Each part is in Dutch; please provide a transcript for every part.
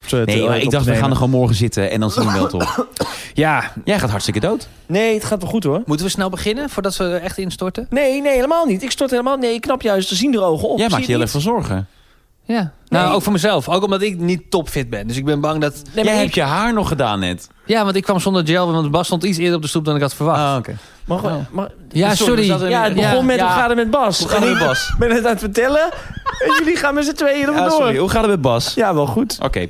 eh, te- Nee, maar op ik te dacht, we nemen. gaan er gewoon morgen zitten en dan zien we wel toch. Ja, Jij gaat hartstikke dood. nee, het gaat wel goed hoor. Moeten we snel beginnen voordat we er echt instorten? Nee, nee, helemaal niet. Ik stort helemaal... Nee, ik knap juist. Ze zien er ogen op. Jij Zie maakt je heel het erg veel zorgen. Ja. Nou, Nee. ook voor mezelf. Ook omdat ik niet topfit ben. Dus ik ben bang dat... niet? Nee, maar Jij ik- hebt je haar nog gedaan net. Ja, want ik kwam zonder gel, want Bas stond iets eerder op de stoep dan ik had verwacht. Ah, oké. Mag, mag- Ja, sorry. er zat een- Oh. ja, het begon met hoe gaat het met Bas? Hoe gaat het En met ik Bas? ben het aan het vertellen en jullie gaan met z'n tweeën erop Ja, door. sorry, hoe gaat het met Bas? Ja, wel goed. Oké.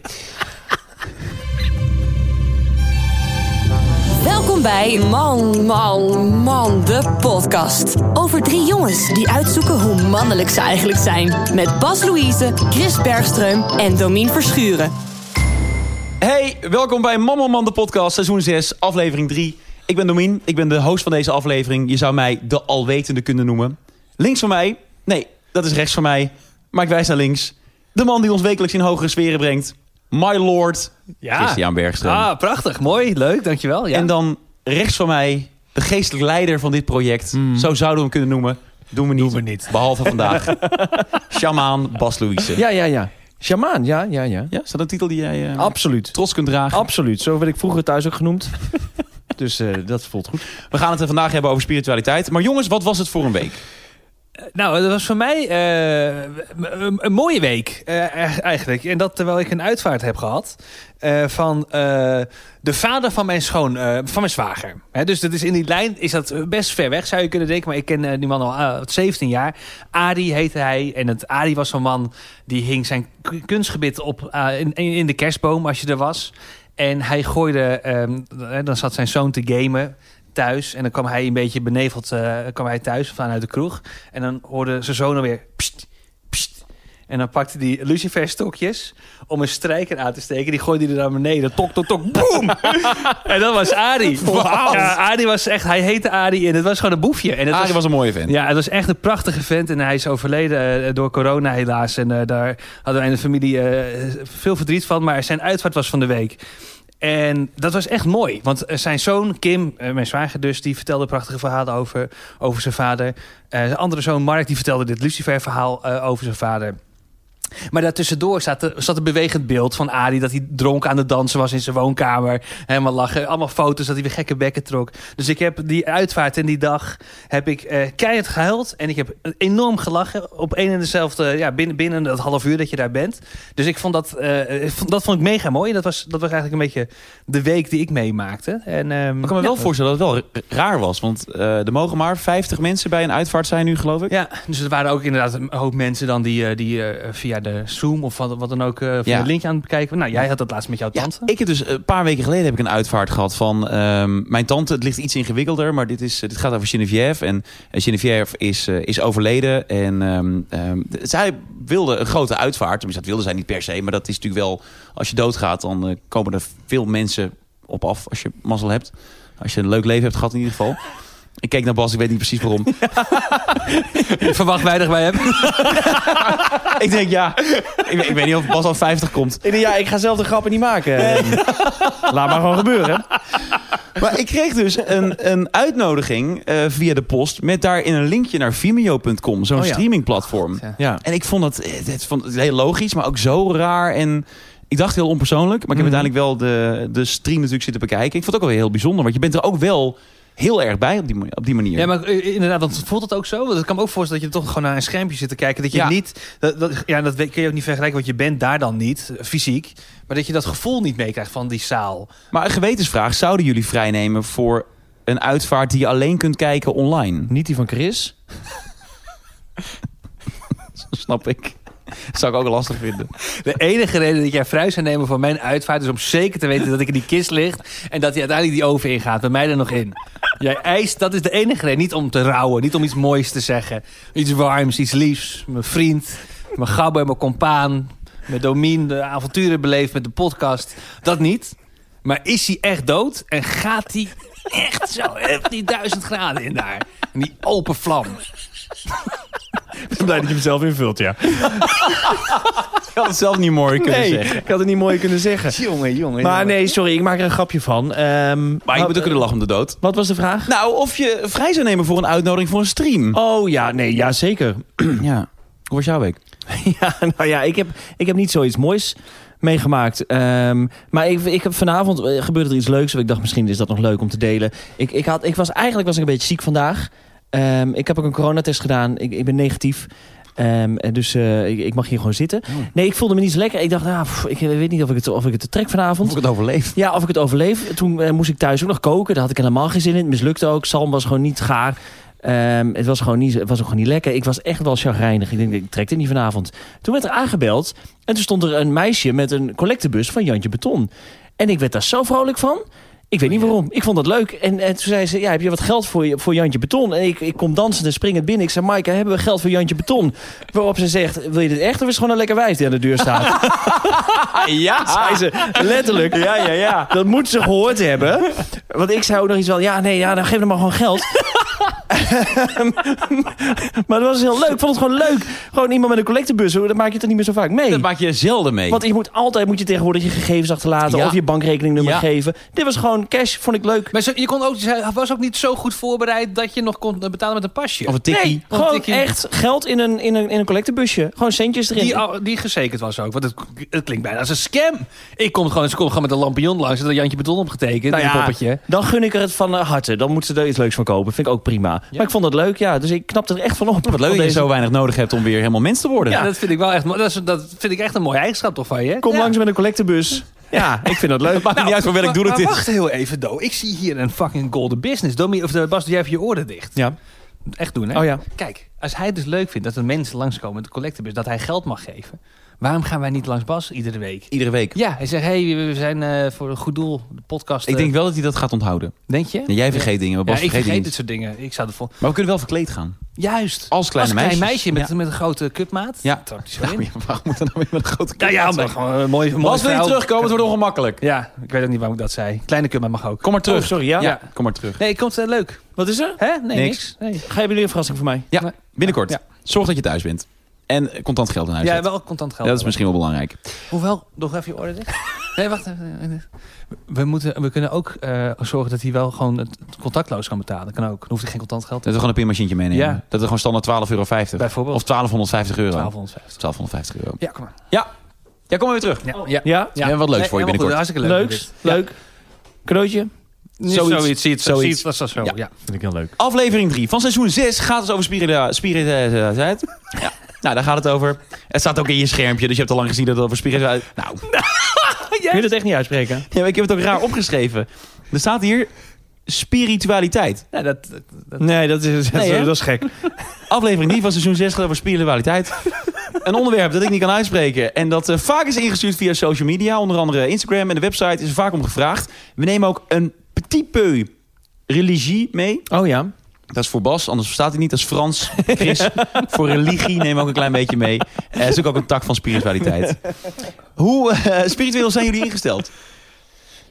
Welkom bij Man, Man, Man, de podcast. Over drie jongens die uitzoeken hoe mannelijk ze eigenlijk zijn. Met Bas Louise, Chris Bergström en Domien Verschuren. Hey, welkom bij Mammelman de podcast, seizoen 6, aflevering 3. Ik ben Domien, ik ben de host van deze aflevering. Je zou mij de alwetende kunnen noemen. Links van mij, nee, dat is rechts van mij, maar ik wijs naar links. De man die ons wekelijks in hogere sferen brengt. My lord, Ja. Christian Bergström. Ah, prachtig. Mooi. Leuk. Dankjewel. Ja. En dan rechts van mij, de geestelijk leider van dit project. Zo zouden we hem kunnen noemen. Doen we niet. Hmm. we niet. Behalve vandaag. Shamaan Bas Louise. Ja, ja, ja. Shamaan, ja, ja, ja. Ja, is dat een titel die jij eh, Absoluut. trots kunt dragen? Absoluut. Zo werd ik vroeger thuis ook genoemd. dus eh, dat voelt goed. We gaan het er vandaag hebben over spiritualiteit. Maar jongens, wat was het voor een week? Nou, dat was voor mij eh, m- een, een mooie week eh, eigenlijk. En dat terwijl ik een uitvaart heb gehad eh, van eh, de vader van mijn, schoon, eh, van mijn zwager. Hè, dus dat is in die lijn is dat best ver weg, zou je kunnen denken. Maar ik ken eh, die man al eh, 17 jaar. Adi heette hij. En het, Adi was zo'n man die hing zijn k- kunstgebit op eh, in, in in de kerstboom als je er was. En hij gooide, ehm, hè, dan zat zijn zoon te gamen thuis. En dan kwam hij een beetje beneveld eh, kwam hij thuis vanuit de kroeg. En dan hoorde zijn zoon alweer... Pst, pst. En dan pakte hij luciferstokjes om een strijker aan te steken. Die gooide hij er naar beneden. Tok, tok, tok. Boom! en dat was Adi. Ja, Adi was echt... Hij heette Adi en het was gewoon een boefje. En het Arie was een mooie vent. ja, het was echt een prachtige vent. En hij is overleden eh, door corona helaas. En eh, daar hadden wij in de familie eh, veel verdriet van. Maar zijn uitvaart was van de week. En dat was echt mooi. Want eh, zijn zoon, Kim, eh, mijn zwager dus... die vertelde prachtige verhalen over, over zijn vader. Eh, zijn andere zoon, Mark, die vertelde dit Lucifer-verhaal eh, over zijn vader. Maar daartussendoor zat, er- zat een bewegend beeld van Adi... dat hij dronken aan het dansen was in zijn woonkamer. Helemaal lachen. Allemaal foto's dat hij weer gekke bekken trok. Dus ik heb die uitvaart en die dag heb ik eh, keihard gehuild. En ik heb enorm gelachen op één en dezelfde... Ja, binnen, binnen dat half uur dat je daar bent. Dus ik vond dat, eh, ik vond- dat vond ik mega mooi. Dat was, dat was eigenlijk een beetje de week die ik meemaakte. En, ehm, Ik kan me wel ja. voorstellen dat het wel r- raar was. Want eh, er mogen maar 50 mensen bij een uitvaart zijn nu, geloof ik. Ja, dus er waren ook inderdaad een hoop mensen dan die, eh, die eh, via de Zoom of wat, wat dan ook eh, via Ja. het linkje aan het bekijken. Nou, jij had dat laatst met jouw tante. ik heb dus een paar weken geleden heb ik een uitvaart gehad van ehm, mijn tante. Het ligt iets ingewikkelder, maar dit, is, eh, dit gaat over Geneviève. En eh, Geneviève is, eh, is overleden. En ehm, ehm, d- zij wilde een grote uitvaart. Tenminste, dat wilde zij niet per se. Maar dat is natuurlijk wel, als je doodgaat, dan eh, komen er veel mensen op af. Als je mazzel hebt. Als je een leuk leven hebt gehad in ieder geval. Ik keek naar Bas, ik weet niet precies waarom. Ik verwacht weinig bij hem. ik denk, ja, ik, weet- ik weet niet of Bas al 50 komt. Ik denk, ja, ik ga zelf de grappen niet maken. Laat maar gewoon gebeuren. Maar ik kreeg dus een, een uitnodiging eh, via de post met daarin een linkje naar Vimeo.com, zo'n Oh ja. streamingplatform. ja. Ja. En ik vond dat eh, het vond het heel logisch, maar ook zo raar en ik dacht heel onpersoonlijk, maar ik heb Mhm. uiteindelijk wel de, de stream natuurlijk zitten bekijken. Ik vond het ook wel heel bijzonder, want je bent er ook wel heel erg bij op die, ma- op die manier. Ja, maar eh, inderdaad, want voelt het ook zo? Want ik kan me ook voorstellen dat je toch gewoon naar een schermpje zit te kijken. Dat je Ja. niet, dat, dat, ja, dat kun je ook niet vergelijken, want je bent daar dan niet, eh, fysiek. Maar dat je dat gevoel niet meekrijgt van die zaal. maar een gewetensvraag, zouden jullie vrijnemen voor een uitvaart die je alleen kunt kijken online? Niet die van Chris. Snap ik. Dat zou ik ook lastig vinden. De enige reden dat jij vrij zou nemen van mijn uitvaart is om zeker te weten dat ik in die kist lig. En dat hij uiteindelijk die oven ingaat, met mij er nog in. Jij eist, dat is de enige reden. Niet om te rouwen, niet om iets moois te zeggen. Iets warms, iets liefs. Mijn vriend, mijn gabber, mijn compaan. Mijn domien, de avonturen beleefd met de podcast. Dat niet. Maar is hij echt dood? En gaat hij echt zo echt die duizend graden in daar? En die open vlam. Ik ben blij dat je hem zelf invult, ja. Ik had het zelf niet mooi kunnen Nee, zeggen. ik had het niet mooier kunnen zeggen. Jongen, jongen. Maar nee, sorry, ik maak er een grapje van. Ehm, Maar je wat- moet ook kunnen lachen om de dood. Wat was de vraag? Nou, of je vrij zou nemen voor een uitnodiging voor een stream. Oh ja, nee, ja zeker. Oh. Ja. Hoe was jouw week? Ja, nou ja, ik heb, ik heb niet zoiets moois. meegemaakt. Ehm, maar ik, ik heb vanavond eh, gebeurde er iets leuks. Ik dacht, misschien is dat nog leuk om te delen. Ik, ik, had, ik was eigenlijk was ik een beetje ziek vandaag. Ehm, ik heb ook een coronatest gedaan. Ik, ik ben negatief. Ehm, en dus eh, ik, ik mag hier gewoon zitten. Nee, ik voelde me niet zo lekker. Ik dacht, ah, pff, ik weet niet of ik het, of ik het trek vanavond. Of ik het overleef. Ja, of ik het overleef. Toen eh, moest ik thuis ook nog koken. Daar had ik helemaal geen zin in. Het mislukte ook. Salm was gewoon niet gaar. Ehm, het, was gewoon niet, het was ook gewoon niet lekker. Ik was echt wel chagrijnig. Ik denk, ik trek dit niet vanavond. Toen werd er aangebeld. En toen stond er een meisje met een collectebus van Jantje Beton. En ik werd daar zo vrolijk van. Ik weet niet waarom. Ik vond dat leuk. En, en toen zei ze, ja, heb je wat geld voor, je, voor Jantje Beton? En ik, ik kom dansen en springend binnen. Ik zei, Maaike, hebben we geld voor Jantje Beton? Waarop ze zegt, wil je dit echt of is het gewoon een lekker wijf die aan de deur staat? Ja. zei ze. Letterlijk. Ja, ja, ja. Dat moet ze gehoord hebben. Want ik zei ook nog iets van, ja, nee, ja, dan geef hem maar gewoon geld. maar dat was heel leuk. Ik vond het gewoon leuk. Gewoon iemand met een collectebus, hoor, dat maak je toch niet meer zo vaak mee. Dat maak je zelden mee. Want je moet altijd moet je tegenwoordig je gegevens achterlaten Ja. of je bankrekeningnummer Ja. geven. Dit was gewoon cash, vond ik leuk. Maar zo- je kon ook, hij was ook niet zo goed voorbereid dat je nog kon eh, betalen met een pasje. Of een tikkie. Nee, Want gewoon ik- echt geld in een, in een, in een collectebusje. Gewoon centjes erin. die, al- die gezekerd was ook. Want het, het klinkt bijna als een scam. Ik kom gewoon, ze kom gewoon met een lampion langs. En dat Jantje Beton opgetekend. Nou in ja, een poppetje. Dan gun ik er het van eh, harte. Dan moeten ze er iets leuks van kopen. Vind ik ook prima. Maar ik vond het leuk, ja. Dus ik knapte er echt van op. Wat leuk dat je zo weinig nodig hebt om weer helemaal mens te worden. Ja, dat vind ik wel echt, mo- dat is, dat vind ik echt een mooie eigenschap toch van je. Kom Ja. Nou, langs met een collectebus. Ja, ik vind dat leuk. Maakt niet uit voor welk Maar- doel het maar is. wacht heel even, Do. Ik zie hier een fucking golden business. Domi, of eh, Bas, doe jij even je oren dicht. Ja. Moet Echt doen, hè? Oh ja. Kijk, als hij dus leuk vindt dat er mensen langskomen met de collectebus, dat hij geld mag geven. Waarom gaan wij niet langs Bas iedere week? Iedere week. Ja, hij zegt, hey, we we zijn eh, voor een goed doel, de podcast. Ik eh, denk wel dat hij dat gaat onthouden. denk je? En jij vergeet dingen, maar Ja, Bas ik vergeet vergeet dingen. dit soort dingen. Ik zou ervoor. Maar we kunnen wel verkleed gaan. Juist. Als kleine Als klein meisje meisjes. met, met een grote cupmaat. Ja. Trapt hij zo Nou, in. ja, waarom moet er nou weer met een grote Nou ja, maar gewoon een mooie, mooie Bas wil je vrouw. terugkomen, het wordt ongemakkelijk. Ja, ik weet ook niet waarom ik dat zei. Kleine cupmaat mag ook. Kom maar terug. Oh, sorry, ja? ja. Kom maar terug. Nee, ik kom het eh, leuk. Wat is er? Hè? Nee, Niks. niks. Nee. Ga je jullie een verrassing voor mij? Ja, binnenkort. Ja. Zorg dat je thuis bent. En eh, contant geld in huis. Ja, hebt. wel contant geld. dat is misschien wel belangrijk. Hoewel, nog even je orde dicht. Nee, wacht even. We, moeten, we kunnen ook eh, zorgen dat hij wel gewoon het contactloos kan betalen. Kan ook. Dan hoeft hij geen contant geld te Dat we gewoon een pinmachientje meenemen. Ja. Dat we gewoon standaard 12,50 euro. Bijvoorbeeld. Of 1250 euro. 1250. 1250 euro. Ja, kom maar. Oh. Ja, kom maar weer terug. Ja, ja. Ja? We hebben wat leuks voor je helemaal binnenkort. goed. hartstikke leuk. Leuks? Leuk? Cadeautje? Zoiets. Zoiets. Zoiets. Zoiets. Zoiets. Zoiets. Dat is dat zo. Ja. Ja. Vind ik heel leuk. Aflevering 3 van seizoen 6 gaat het over eh, spiritualiteit. Ja. Nou, daar gaat het over. Het staat ook in je schermpje, dus je hebt al lang gezien dat het over spiritualiteit... Nou, Kun je dat echt niet uitspreken? ja, maar ik heb het ook raar opgeschreven. Er staat hier spiritualiteit. Ja, dat, dat- dat- Nee, dat is, Nee, hè? is gek. Aflevering 3 van seizoen 6 gaat over spiritualiteit. Een onderwerp dat ik niet kan uitspreken. En dat eh, vaak is ingestuurd via social media. Onder andere Instagram en de website is er vaak om gevraagd. We nemen ook een petit peu religie mee. Oh ja. Dat is voor Bas, anders verstaat hij niet. Dat is Frans, Chris. voor religie neem ook een klein beetje mee. Eh, is ook, ook een tak van spiritualiteit. Hoe eh, spiritueel zijn jullie ingesteld?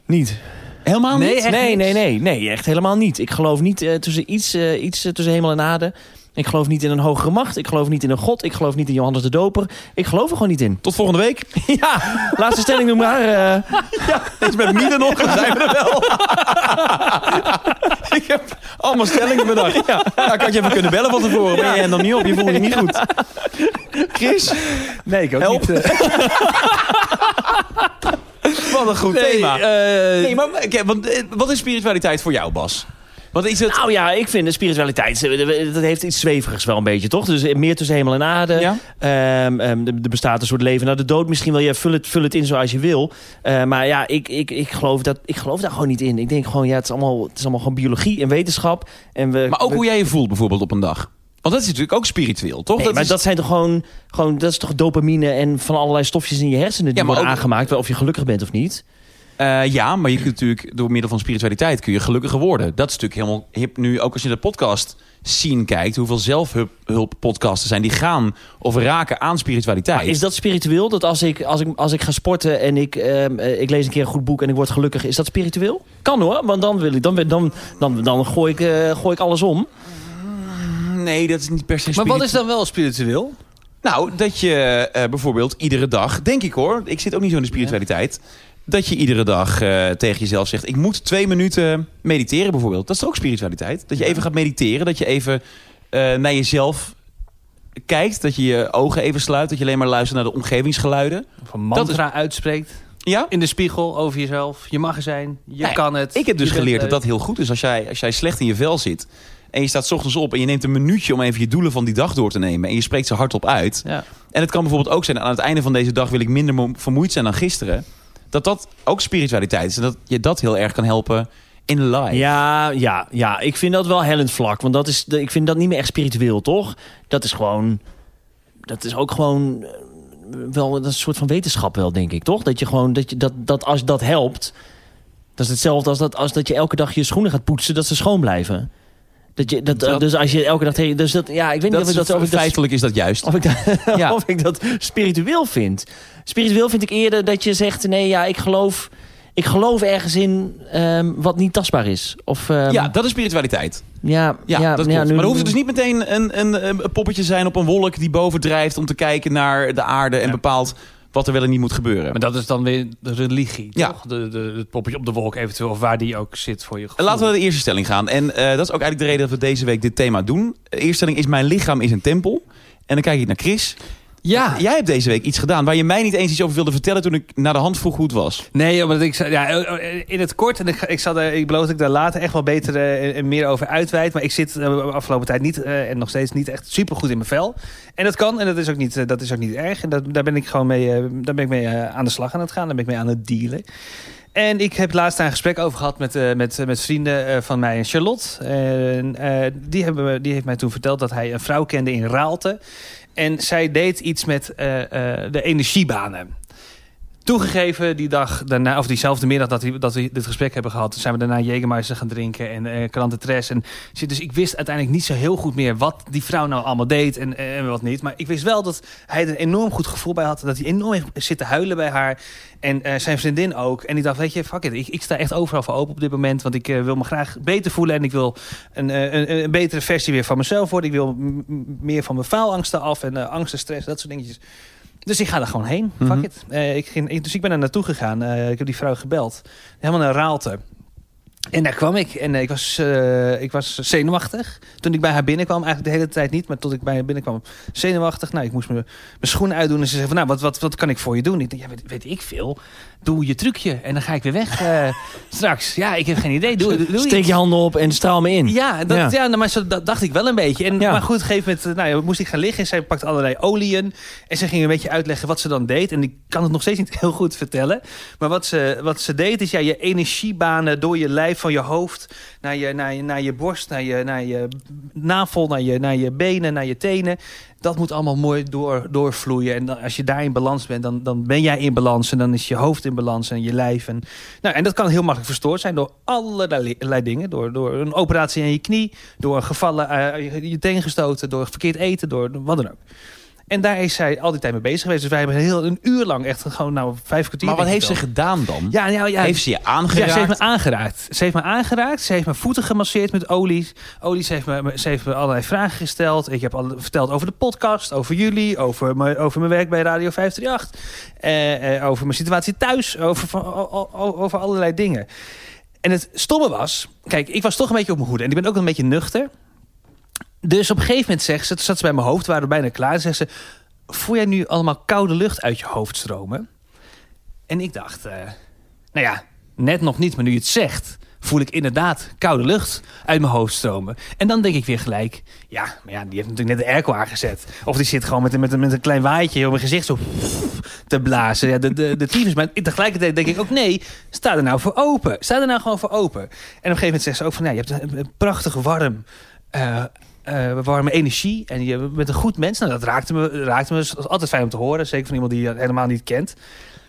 Niet. Helemaal Nee, niet? echt nee, niks? nee, nee. Nee, echt helemaal niet. Ik geloof niet eh, tussen iets, eh, iets eh, tussen hemel en aarde. Ik geloof niet in een hogere macht. Ik geloof niet in een god. Ik geloof niet in Johannes de Doper. Ik geloof er gewoon niet in. Tot volgende week. ja, laatste stelling doe maar. eh. Het is met Mine nog, dan zijn we er wel. ik heb allemaal stellingen bedacht. Ja. ik had je even kunnen bellen van tevoren, maar je nog niet op. Je voelde je niet goed. Chris, nee, ik ook Help. niet. eh. wat een goed thema. eh, nee, maar oké, want, eh, wat is spiritualiteit voor jou, Bas? Want is het... Nou ja, ik vind de spiritualiteit, eh, dat heeft iets zweverigs wel een beetje, toch? Dus meer tussen hemel en aarde. Ja? Ehm, ehm, er er bestaat een soort leven na de dood. Misschien wel, ja, vul het, vul het in zoals je wil. Eh, maar ja, ik, ik, ik, geloof dat, ik geloof daar gewoon niet in. Ik denk gewoon, ja, het is allemaal, het is allemaal gewoon biologie en wetenschap. En we, Maar ook we- hoe jij je voelt bijvoorbeeld op een dag. Want dat is natuurlijk ook spiritueel, toch? Nee, dat maar is... dat zijn toch gewoon, gewoon, dat is toch dopamine en van allerlei stofjes in je hersenen die Ja, maar worden ook- aangemaakt, of je gelukkig bent of niet. Eh, ja, maar je kunt natuurlijk door middel van spiritualiteit kun je gelukkiger worden. Dat is natuurlijk helemaal hip nu. Ook als je de podcast scene kijkt, hoeveel zelfhulppodcasten zijn die gaan of raken aan spiritualiteit. Maar is dat spiritueel? Dat als ik, als ik, als ik ga sporten en ik, ehm, eh, ik lees een keer een goed boek en ik word gelukkig, is dat spiritueel? Kan hoor, want dan, wil ik, dan, dan, dan, dan gooi, ik, eh, gooi ik alles om. Nee, dat is niet per se maar spiritueel. wat is dan wel spiritueel? Nou, dat je eh, bijvoorbeeld iedere dag, denk ik hoor, ik zit ook niet zo in de spiritualiteit, dat je iedere dag eh, tegen jezelf zegt: ik moet twee minuten mediteren bijvoorbeeld. Dat is toch ook spiritualiteit? Dat je even gaat mediteren, dat je even eh, naar jezelf kijkt, dat je je ogen even sluit, dat je alleen maar luistert naar de omgevingsgeluiden. Of een mantra uitspreekt. Ja? In de spiegel over jezelf. Je mag er zijn. Je Nee, kan het. Ik heb dus je bent geleerd dat leuk. dat heel goed is. Als jij, als jij slecht in je vel zit en je staat 's ochtends op en je neemt een minuutje om even je doelen van die dag door te nemen en je spreekt ze hardop uit. Ja. En het kan bijvoorbeeld ook zijn aan het einde van deze dag wil ik minder mo- vermoeid zijn dan gisteren. Dat dat ook spiritualiteit is en dat je dat heel erg kan helpen in life. Ja, ja, ja. Ik vind dat wel hellend vlak. Want dat is, de- ik vind dat niet meer echt spiritueel, toch? Dat is gewoon... Dat is ook gewoon eh, wel dat is een soort van wetenschap wel, denk ik, toch? Dat je gewoon... Dat, je, dat, dat als dat helpt... Dat is hetzelfde als dat, als dat je elke dag je schoenen gaat poetsen... dat ze schoon blijven. Dat je, dat, Dat- dus als je elke dag... tegen- Dus dat, ja, ik weet Dat niet of ik is- dat... Of ik dat feitelijk is dat juist. of ik, dat, Ja. of ik dat spiritueel vind. Spiritueel vind ik eerder dat je zegt... nee, ja, ik geloof, ik geloof ergens in ehm, wat niet tastbaar is. Of, ehm, ja, dat is spiritualiteit. ja, Ja, dat klopt. maar dan hoeft het dus niet meteen een, een, een poppetje te zijn op een wolk die boven drijft om te kijken naar de aarde en Ja. bepaalt wat er wel en niet moet gebeuren. Maar dat is dan weer de religie, Ja. toch? De, de, het poppetje op de wolk eventueel, of waar die ook zit voor je gevoel. Laten we naar de eerste stelling gaan. En eh, dat is ook eigenlijk de reden dat we deze week dit thema doen. De eerste stelling is mijn lichaam is een tempel. En dan kijk ik naar Chris. Ja, Jij hebt deze week iets gedaan waar je mij niet eens iets over wilde vertellen toen ik naar de hand vroeg hoe het was. nee, omdat ik... zei- Ja, eh, in het kort, en ik, ga- ik, zal daar, ik beloof dat ik daar later echt wel beter eh, en- en meer over uitweid. Maar ik zit eh, de afgelopen tijd niet, eh, en nog steeds niet echt supergoed in mijn vel. En dat kan, en dat is ook niet, eh, dat is ook niet erg. En dat, daar ben ik gewoon mee, eh, daar ben ik mee eh, aan de slag aan het gaan. Daar ben ik mee aan het dealen. En ik heb laatst daar een gesprek over gehad met, eh, met, met vrienden eh, van mij en Charlotte. En, eh, die, hebben, me- die heeft mij toen verteld dat hij een vrouw kende in Raalte. En zij deed iets met eh, eh, de energiebanen. Toegegeven, die dag daarna, of diezelfde middag dat, die, dat we dit gesprek hebben gehad, zijn we daarna Jägermeister gaan drinken en eh Krantentres. En shit. dus ik wist uiteindelijk niet zo heel goed meer wat die vrouw nou allemaal deed en, en wat niet. Maar ik wist wel dat hij er enorm goed gevoel bij had. Dat hij enorm heeft zitten huilen bij haar. En eh, zijn vriendin ook. En die dacht, weet je, fuck it. Ik, ik sta echt overal voor open op dit moment. Want ik eh, wil me graag beter voelen. En ik wil een, eh, een, een betere versie weer van mezelf worden. Ik wil m- m- meer van mijn faalangsten af. En eh, angsten, stress, dat soort dingetjes. Dus ik ga er gewoon heen. Fuck Mhm. it. Eh, ik ging, ik- dus ik ben er naartoe gegaan. Eh, ik heb die vrouw gebeld. Helemaal naar Raalte. En daar kwam ik. En eh, ik, was, eh, ik was zenuwachtig. Toen ik bij haar binnenkwam, eigenlijk de hele tijd niet. Maar tot ik bij haar binnenkwam, zenuwachtig. Nou, ik moest me mijn schoenen uitdoen. En ze zei van, nou, wat, wat, wat kan ik voor je doen? Ik denk, ja, weet, weet ik veel. Doe je trucje en dan ga ik weer weg eh, straks. Ja, ik heb geen idee. Doe, doe, doe Steek iets. je handen op en straal me in. Ja, dat, ja. Ja. nou, maar zo, dat dacht ik wel een beetje. En, Ja. Maar goed, op een gegeven moment eh, nou, ja, moest ik gaan liggen. En zij pakte allerlei oliën. En ze ging een beetje uitleggen wat ze dan deed. En ik kan het nog steeds niet heel goed vertellen. Maar wat ze, wat ze deed is ja, je energiebanen door je lijf, van je hoofd... naar je, naar je, naar je borst, naar je, naar je navel, naar je, naar je benen, naar je tenen. Dat moet allemaal mooi door, doorvloeien. En dan, als je daar in balans bent, dan, dan ben jij in balans. En dan is je hoofd in balans en je lijf. En, nou, en dat kan heel makkelijk verstoord zijn door allerlei allerlei dingen. Door, door een operatie aan je knie, door gevallen, eh, je, je teen gestoten, door verkeerd eten, door wat dan ook. En daar is zij al die tijd mee bezig geweest. Dus wij hebben heel een uur lang echt gewoon nou vijf kwartier. Maar wat denk ik heeft ze wel. gedaan dan? Ja, nou ja, ja. Heeft ze je Ja, aangeraakt? ze heeft me aangeraakt. Ze heeft me aangeraakt. Ze heeft mijn voeten gemasseerd met olie. Olie, ze heeft me, ze heeft me allerlei vragen gesteld. Ik heb al verteld over de podcast, over jullie, over mijn, over mijn werk bij Radio 538. eh, eh, over mijn situatie thuis, over, van- o- o- o- over allerlei dingen. En het stomme was, kijk, ik was toch een beetje op mijn hoede. En ik ben ook een beetje nuchter. Dus op een gegeven moment zegt ze, toen zat ze bij mijn hoofd, we waren bijna klaar. En zegt ze, voel jij nu allemaal koude lucht uit je hoofd stromen? En ik dacht, eh, nou ja, net nog niet, maar nu je het zegt, voel ik inderdaad koude lucht uit mijn hoofd stromen. En dan denk ik weer gelijk, ja, maar ja, die heeft natuurlijk net de airco aangezet. Of die zit gewoon met, een- met, een- met een klein waaitje op mijn gezicht zo te blazen. Ja, de, de, de tyfus. Maar tegelijkertijd denk ik ook, nee, sta er nou voor open. Sta er nou gewoon voor open. En op een gegeven moment zegt ze ook van, ja, je hebt een, een prachtig warm... eh, eh, warme energie en je bent een goed mens. Nou, dat raakte me, raakte me. Dat is altijd fijn om te horen. Zeker van iemand die je helemaal niet kent.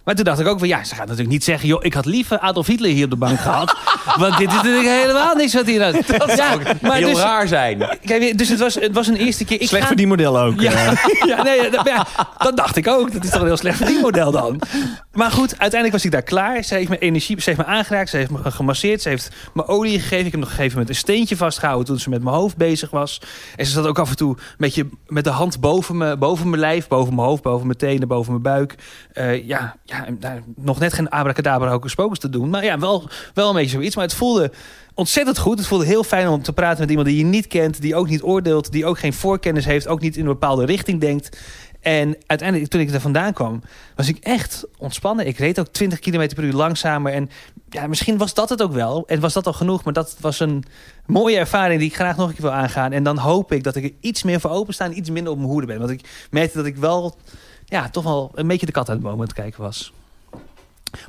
Maar toen dacht ik ook van ja, ze gaat natuurlijk niet zeggen, joh, ik had liever Adolf Hitler hier op de bank gehad. want dit is natuurlijk helemaal niks wat hier aan. Ja, maar Heel dus, raar zijn. kijk, dus het was, het was een eerste keer. Ik Slecht ga- voor die model ook. ja, ja, nee, ja, dat, ja, dat dacht ik ook. Dat is toch een heel slecht verdienmodel dan. Maar goed, uiteindelijk was ik daar klaar. Ze heeft me energie, ze heeft me aangeraakt, ze heeft me gemasseerd, ze heeft me olie gegeven. Ik heb nog gegeven met een steentje vastgehouden toen ze met mijn hoofd bezig was. En ze zat ook af en toe met, je, met de hand boven, me, boven mijn lijf, boven mijn hoofd, boven mijn tenen, boven mijn buik. Eh, ja, ja, ja, nou, nog net geen abracadabra hocus pocus te doen. Maar ja, wel, wel een beetje zoiets. Maar het voelde ontzettend goed. Het voelde heel fijn om te praten met iemand die je niet kent. Die ook niet oordeelt. Die ook geen voorkennis heeft. Ook niet in een bepaalde richting denkt. En uiteindelijk, toen ik er vandaan kwam, was ik echt ontspannen. Ik reed ook 20 km per uur langzamer. En ja, misschien was dat het ook wel. En was dat al genoeg. Maar dat was een mooie ervaring die ik graag nog een keer wil aangaan. En dan hoop ik dat ik er iets meer voor openstaan, iets minder op mijn hoede ben. Want ik merkte dat ik wel ja, toch wel een beetje de kat uit het boom aan het kijken was.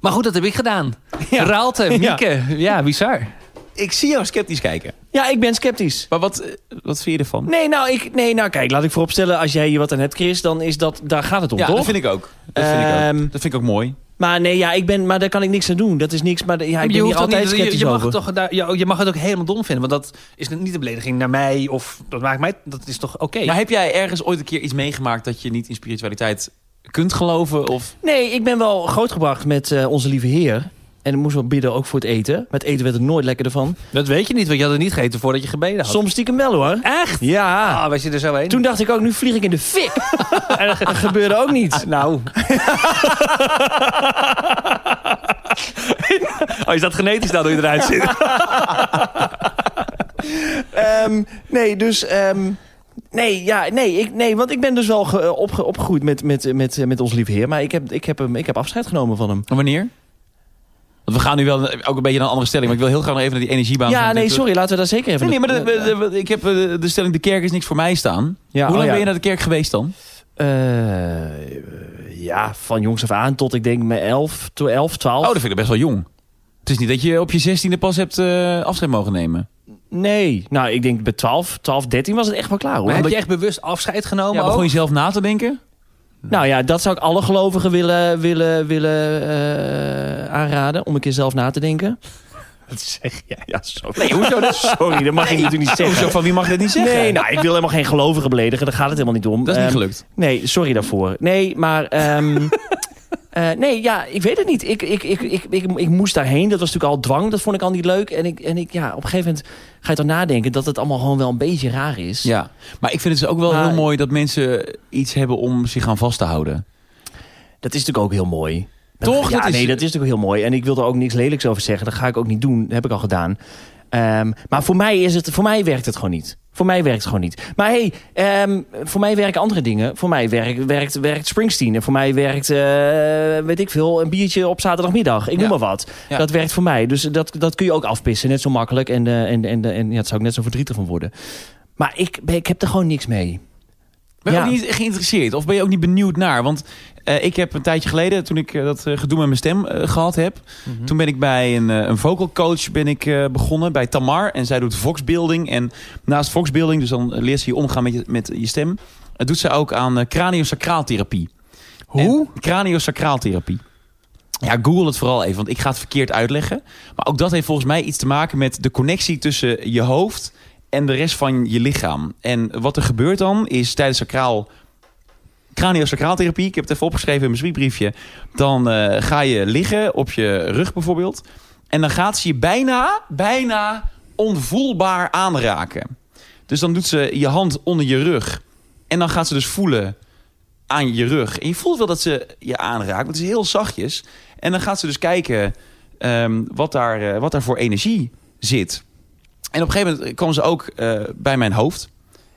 Maar goed, dat heb ik gedaan. Raalte, Mieke. Ja, bizar. Ik zie jou sceptisch kijken. Ja, ik ben sceptisch. Maar wat, eh, wat vind je ervan? Nee, nou, ik, nee, nou kijk, laat ik vooropstellen, als jij hier wat aan hebt, Chris, dan is dat, daar gaat het om, ja, toch? dat vind ik ook. Dat vind ik ook. Ehm, Dat vind ik ook mooi. Maar nee, ja, ik ben, maar daar kan ik niks aan doen. Dat is niks, maar ja, ik ben hier hoeft toch altijd niet- je- sceptisch je, mag over. het toch, daar- je, je mag het ook helemaal dom vinden. Want dat is niet een belediging naar mij. Of dat maakt mij. Dat is toch oké. Maar heb jij ergens ooit een keer iets meegemaakt dat je niet in spiritualiteit kunt geloven? Of Nee, ik ben wel grootgebracht met eh, onze lieve heer. En ik moest wel bidden ook voor het eten. Met eten werd er nooit lekkerder van. Dat weet je niet, want je had het niet gegeten voordat je gebeden had. Soms stiekem wel, hoor. Echt? Ja. Ah, was je er zo heen? Toen dacht ik ook, nu vlieg ik in de fik. en dat ge- gebeurde ook niet. Nou. oh, is dat genetisch dan hoe je eruit zit? Ehm, nee, dus... ehm, nee, ja, nee, ik, nee, want ik ben dus wel ge- opge- opgegroeid met, met, met, eh, met onze lieve heer. Maar ik heb, ik, heb hem, ik heb afscheid genomen van hem. wanneer? Want we gaan nu wel ook een beetje naar een andere stelling. Maar ik wil heel graag nog even naar die energiebaan. Ja, van nee, dit- sorry, laten we daar zeker even... Nee, nee, maar de, de- de- ik heb eh, de stelling de kerk is niks voor mij staan. Ja, Hoe lang oh ja. ben je naar de kerk geweest dan? Eh, eh, ja, van jongs af aan tot ik denk mijn 11, 11, 12. Oh, dat vind ik best wel jong. Het is niet dat je op je zestiende pas hebt eh, afscheid mogen nemen. Nee, nou ik denk bij 12, 12, 13 was het echt wel klaar hoor. Maar heb Omdat- je echt bewust afscheid genomen? Ja, begon ook? je zelf na te denken? Nou ja, dat zou ik alle gelovigen willen, willen, willen eh, aanraden. Om een keer zelf na te denken. Wat zeg jij? Ja, sorry. Nee, hoezo? Dat- Sorry, dat mag ik natuurlijk niet zeggen. Hoezo, van wie mag je dit niet zeggen? Nee, nou, ik wil helemaal geen gelovigen beledigen. Daar gaat het helemaal niet om. Dat is niet Ehm, gelukt. Nee, sorry daarvoor. Nee, maar... ehm, eh, nee, ja, ik weet het niet. Ik, ik, ik, ik, ik, ik moest daarheen. Dat was natuurlijk al dwang. Dat vond ik al niet leuk. En, ik, en ik, ja, op een gegeven moment ga je dan nadenken... dat het allemaal gewoon wel een beetje raar is. Ja, maar ik vind het dus ook wel Maar- heel mooi dat mensen iets hebben om zich aan vast te houden. Dat is natuurlijk ook heel mooi. Toch? Ja, Dat is- nee, dat is natuurlijk heel mooi. En ik wil er ook niks lelijks over zeggen. Dat ga ik ook niet doen. Dat heb ik al gedaan. Ehm, maar voor mij, is het, voor mij werkt het gewoon niet. Voor mij werkt het gewoon niet. Maar hey, ehm, voor mij werken andere dingen. Voor mij werkt, werkt, werkt Springsteen. En voor mij werkt, eh, weet ik veel, een biertje op zaterdagmiddag. Ik noem Ja. maar wat. Ja. Dat werkt voor mij. Dus dat, dat kun je ook afpissen. Net zo makkelijk. En, eh, en, en, en ja, daar zou ik net zo verdrietig van worden. Maar ik, ben- ik heb er gewoon niks mee. Ben je Ja. ook niet geïnteresseerd? Of ben je ook niet benieuwd naar? Want eh, ik heb een tijdje geleden, toen ik eh, dat eh, gedoe met mijn stem eh, gehad heb... toen ben ik bij een, eh, een vocal coach ben ik, eh, begonnen, bij Tamar. En zij doet voxbuilding. En naast voxbuilding, dus dan leert ze je omgaan met je, met je stem... eh, doet ze ook aan eh, craniosacraaltherapie. Hoe? En Craniosacraaltherapie. Ja, Google het vooral even, want ik ga het verkeerd uitleggen. Maar ook dat heeft volgens mij iets te maken met de connectie tussen je hoofd en de rest van je lichaam. En wat er gebeurt dan is tijdens sacraal craniosacraaltherapie, ik heb het even opgeschreven in mijn zwiebriefje, dan eh, ga je liggen op je rug bijvoorbeeld en dan gaat ze je bijna, bijna onvoelbaar aanraken. Dus dan doet ze je hand onder je rug en dan gaat ze dus voelen aan je rug. En je voelt wel dat ze je aanraakt, want het is heel zachtjes. En dan gaat ze dus kijken ehm, wat, daar, eh, wat daar voor energie zit. En op een gegeven moment kwam ze ook eh, bij mijn hoofd.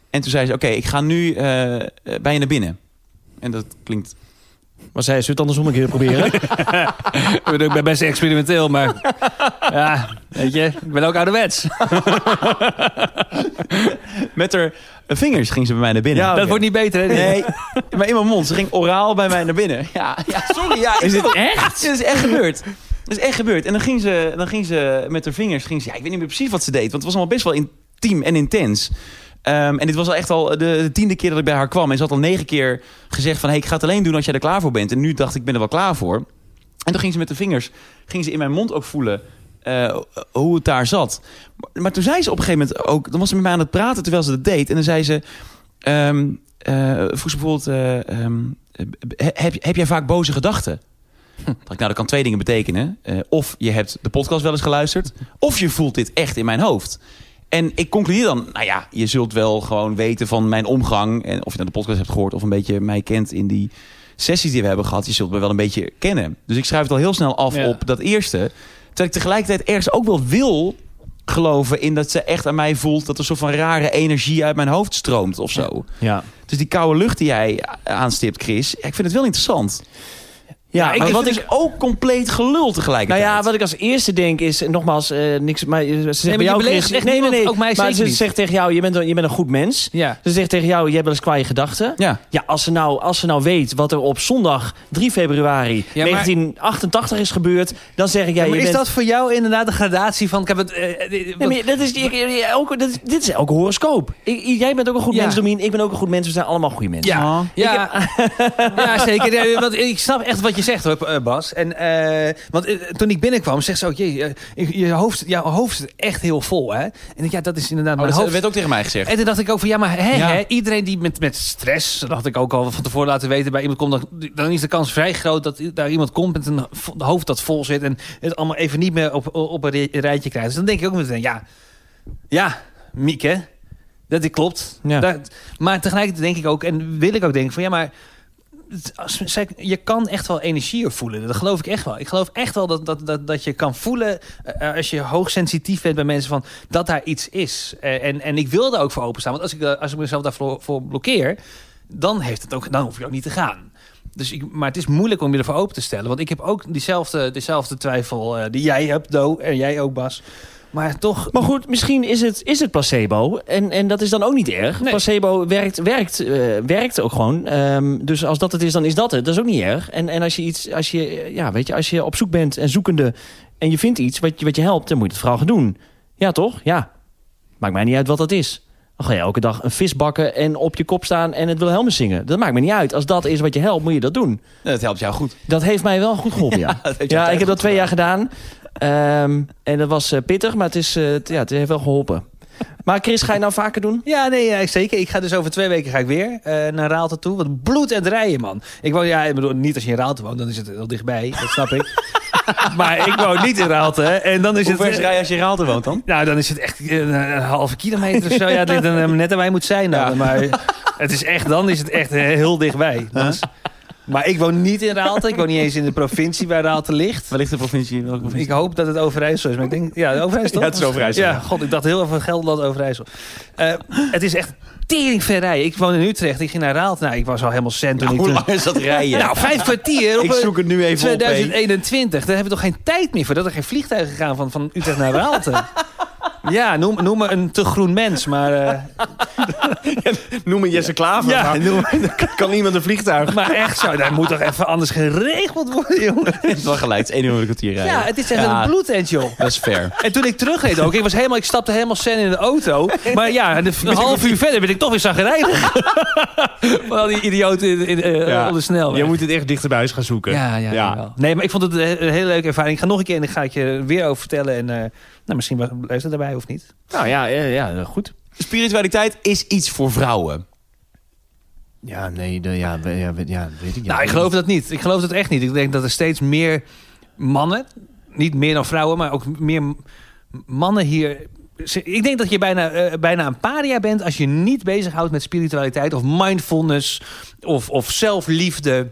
En toen zei ze, oké, ik ga nu eh, eh, bij je naar binnen. En dat klinkt... Maar zij, zullen we het andersom een keer proberen? Ik bedoel, ik ben best experimenteel, maar ja, weet je, ik ben ook ouderwets. Met haar vingers ging ze bij mij naar binnen. Dat wordt niet beter, hè? Nee, maar in mijn mond. Ze ging oraal bij mij naar binnen. Ja, ja sorry. Ja, is dit echt? Dit is echt gebeurd. Dit is echt gebeurd. En dan ging ze, dan ging ze met haar vingers... Ging ze, ja, ik weet niet meer precies wat ze deed. Want het was allemaal best wel intiem en intens. Ehm, en dit was al echt al de, de tiende keer dat ik bij haar kwam. En ze had al negen keer gezegd van... Hey, ik ga het alleen doen als jij er klaar voor bent. En nu dacht ik, ik ben er wel klaar voor. En toen ging ze met de vingers ging ze in mijn mond ook voelen... eh, hoe het daar zat. Maar, maar toen zei ze op een gegeven moment ook... Dan was ze met mij aan het praten terwijl ze dat deed. En dan zei ze... Ehm eh, vroeg ze bijvoorbeeld: eh, ehm, eh, heb, heb jij vaak boze gedachten? Dacht ik, nou, dat kan twee dingen betekenen. Eh, of je hebt de podcast wel eens geluisterd, of je voelt dit echt in mijn hoofd. En ik concludeer dan, nou ja, je nou zult wel gewoon weten van mijn omgang. En of je dan de podcast hebt gehoord of een beetje mij kent in die sessies die we hebben gehad, je zult me wel een beetje kennen. Dus ik schrijf het al heel snel af Ja. op dat eerste. Terwijl ik tegelijkertijd ergens ook wel wil geloven in dat ze echt aan mij voelt dat er een soort van rare energie uit mijn hoofd stroomt of zo. Ja. Dus die koude lucht die jij a- aanstipt, Chris, ja, ik vind het wel interessant. Ja, maar ik, wat is ook compleet gelul nou tegelijkertijd. ja, wat ik als eerste denk is, nogmaals, eh, niks. Maar, eh, ze zegt maar bij je jou, beledigt Chris- echt nee, nee, niemand, nee. ook mij maar zeker ze niet. zegt tegen jou: je bent, een- je bent een goed mens. Ja. Ze zegt tegen jou: je hebt wel eens kwaaie gedachten. Ja. Ja, als ze, nou, als ze nou weet wat er op zondag 3 februari maar- 1988 is gebeurd, dan zeg ik: ja, maar je is bent, dat voor jou inderdaad de gradatie van... Ik heb het, eh, eh, Nee, wat- maar dat is, ik, ik- elke, dat, is- dit is elke horoscoop. Ik- ik- jij bent ook een goed Ja. mens, Domien. Ik ben ook een goed mens. We zijn allemaal goede mensen. Ja, Ah. ja, Oh. ja zeker. Ja, want ik snap echt wat je zegt hoor, eh, Bas. En, eh, want eh, toen ik binnenkwam, zegt ze ook... Jee, eh, je, je hoofd, jouw hoofd is echt heel vol, hè? En ik, ja, dat is inderdaad Maar mijn Oh, dat hoofd. werd ook tegen mij gezegd. En toen dacht ik ook van, ja, maar hè, Ja. hè, iedereen die met, met stress... dat had ik ook al van tevoren laten weten bij iemand komt... dan, dan is de kans vrij groot dat i- daar iemand komt met een vo- hoofd dat vol zit... en het allemaal even niet meer op, op een ri- rijtje krijgt. Dus dan denk ik ook meteen, ja, ja, Mieke, dat dit klopt. Ja. Daar- maar tegelijkertijd denk ik ook, en wil ik ook denken van, ja, maar... het- Als, zij- je kan echt wel energie voelen. Dat geloof ik echt wel. Ik geloof echt wel dat, dat, dat, dat je kan voelen eh, als je hoogsensitief bent bij mensen van dat daar iets is. Eh, en, en ik wil daar ook voor openstaan. Want als ik, eh, als ik mezelf daarvoor voor blokkeer, dan, heeft het ook, dan hoef je ook niet te gaan. Dus ik, maar het is moeilijk om je ervoor open te stellen. Want ik heb ook diezelfde, diezelfde twijfel eh, die jij hebt, Do. En jij ook, Bas. Maar toch... Maar goed, misschien is het, is het placebo. En, en dat is dan ook niet erg. Nee. Placebo werkt, werkt, eh, werkt ook gewoon. Ehm, dus als dat het is, dan is dat het. Dat is ook niet erg. En, en als, je iets, als, je, eh, ja, weet je, als je op zoek bent en zoekende... en je vindt iets wat je, wat je helpt, dan moet je het vooral gaan doen. Ja, toch? Ja. Maakt mij niet uit wat dat is. Dan ga je elke dag een vis bakken en op je kop staan... en het Wilhelmus zingen. Dat maakt me niet uit. Als dat is wat je helpt, moet je dat doen. Nou, Dat helpt jou goed. Dat heeft mij wel goed geholpen, ja. dat Ja, heeft jou ik goed heb dat twee jaar gedaan. Ehm, en dat was eh, pittig, maar het, is, eh, het- ja, het heeft wel geholpen. Maar Chris, ga je nou vaker doen? Ja, nee, ja, zeker. Ik ga dus over twee weken ga ik weer eh, naar Raalte toe. Want bloed en rijden, man. Ik woon, ja, ik bedoel, niet als je in Raalte woont, dan is het heel dichtbij. Dat snap ik. maar ik woon niet in Raalte. hè. En dan is Hoe ver het... eh, is rij als je in Raalte woont dan? Nou, dan is het echt eh, een, halve kilometer of zo. Ja, het ligt dan eh, net waar je moet zijn dan. Maar het is echt, dan is het echt eh, heel dichtbij. Dan is- Maar ik woon niet in Raalte. Ik woon niet eens in de provincie waar Raalte ligt. Waar ligt de provincie? Welke provincie? Ik hoop dat het Overijssel is, maar ik denk... Ja, Overijssel. Ja, het is Overijssel. Ja, god, ik dacht heel even Gelderland Overijssel. Eh, het is echt tering rijden. Ik woon in Utrecht, ik ging naar Raalte. Nou, ik was al helemaal cent toen Nou, ik hoe toen... lang is dat rijden? Nou, vijf kwartier op ik een- zoek het nu even op. hè. 2021. Daar hebben we toch geen tijd meer voor. Dat er geen vliegtuigen gaan van, van Utrecht naar Raalte. Ja, noem, noem me een te groen mens, maar, eh, Noem een Jesse Klaver. Ja, maar- kan iemand een vliegtuig? maar echt zo. Daar moet toch even anders geregeld worden, jongen. Het is wel gelijk, het is één uur en een kwartier rijden. Ja, het is echt Ja. een bloedend, joh. Dat is fair. En toen ik terugreed ook, ik, was helemaal, ik stapte helemaal sen in de auto. Maar ja, een, een half uur verder ben ik toch weer zagrijnig. Van al die idioten in, in, eh, Ja. op de snelweg. Je moet het echt dichter bij huis gaan zoeken. Ja, ja, Ja. jawel. Nee, maar ik vond het een een hele leuke ervaring. Ik ga nog een keer en dan ga ik je weer over vertellen. En eh, nou, misschien wa- blijft het daarbij of niet. Nou ja, ja, ja, goed. Spiritualiteit is iets voor vrouwen. Ja, nee, de, ja, we- ja, we- ja, weet ik nou, ik geloof dat niet. Ik geloof dat echt niet. Ik denk dat er steeds meer mannen, niet meer dan vrouwen, maar ook meer m- mannen hier... Ik denk dat je bijna, eh, bijna een paria bent als je niet bezighoudt met spiritualiteit of mindfulness of, of zelfliefde. Eh,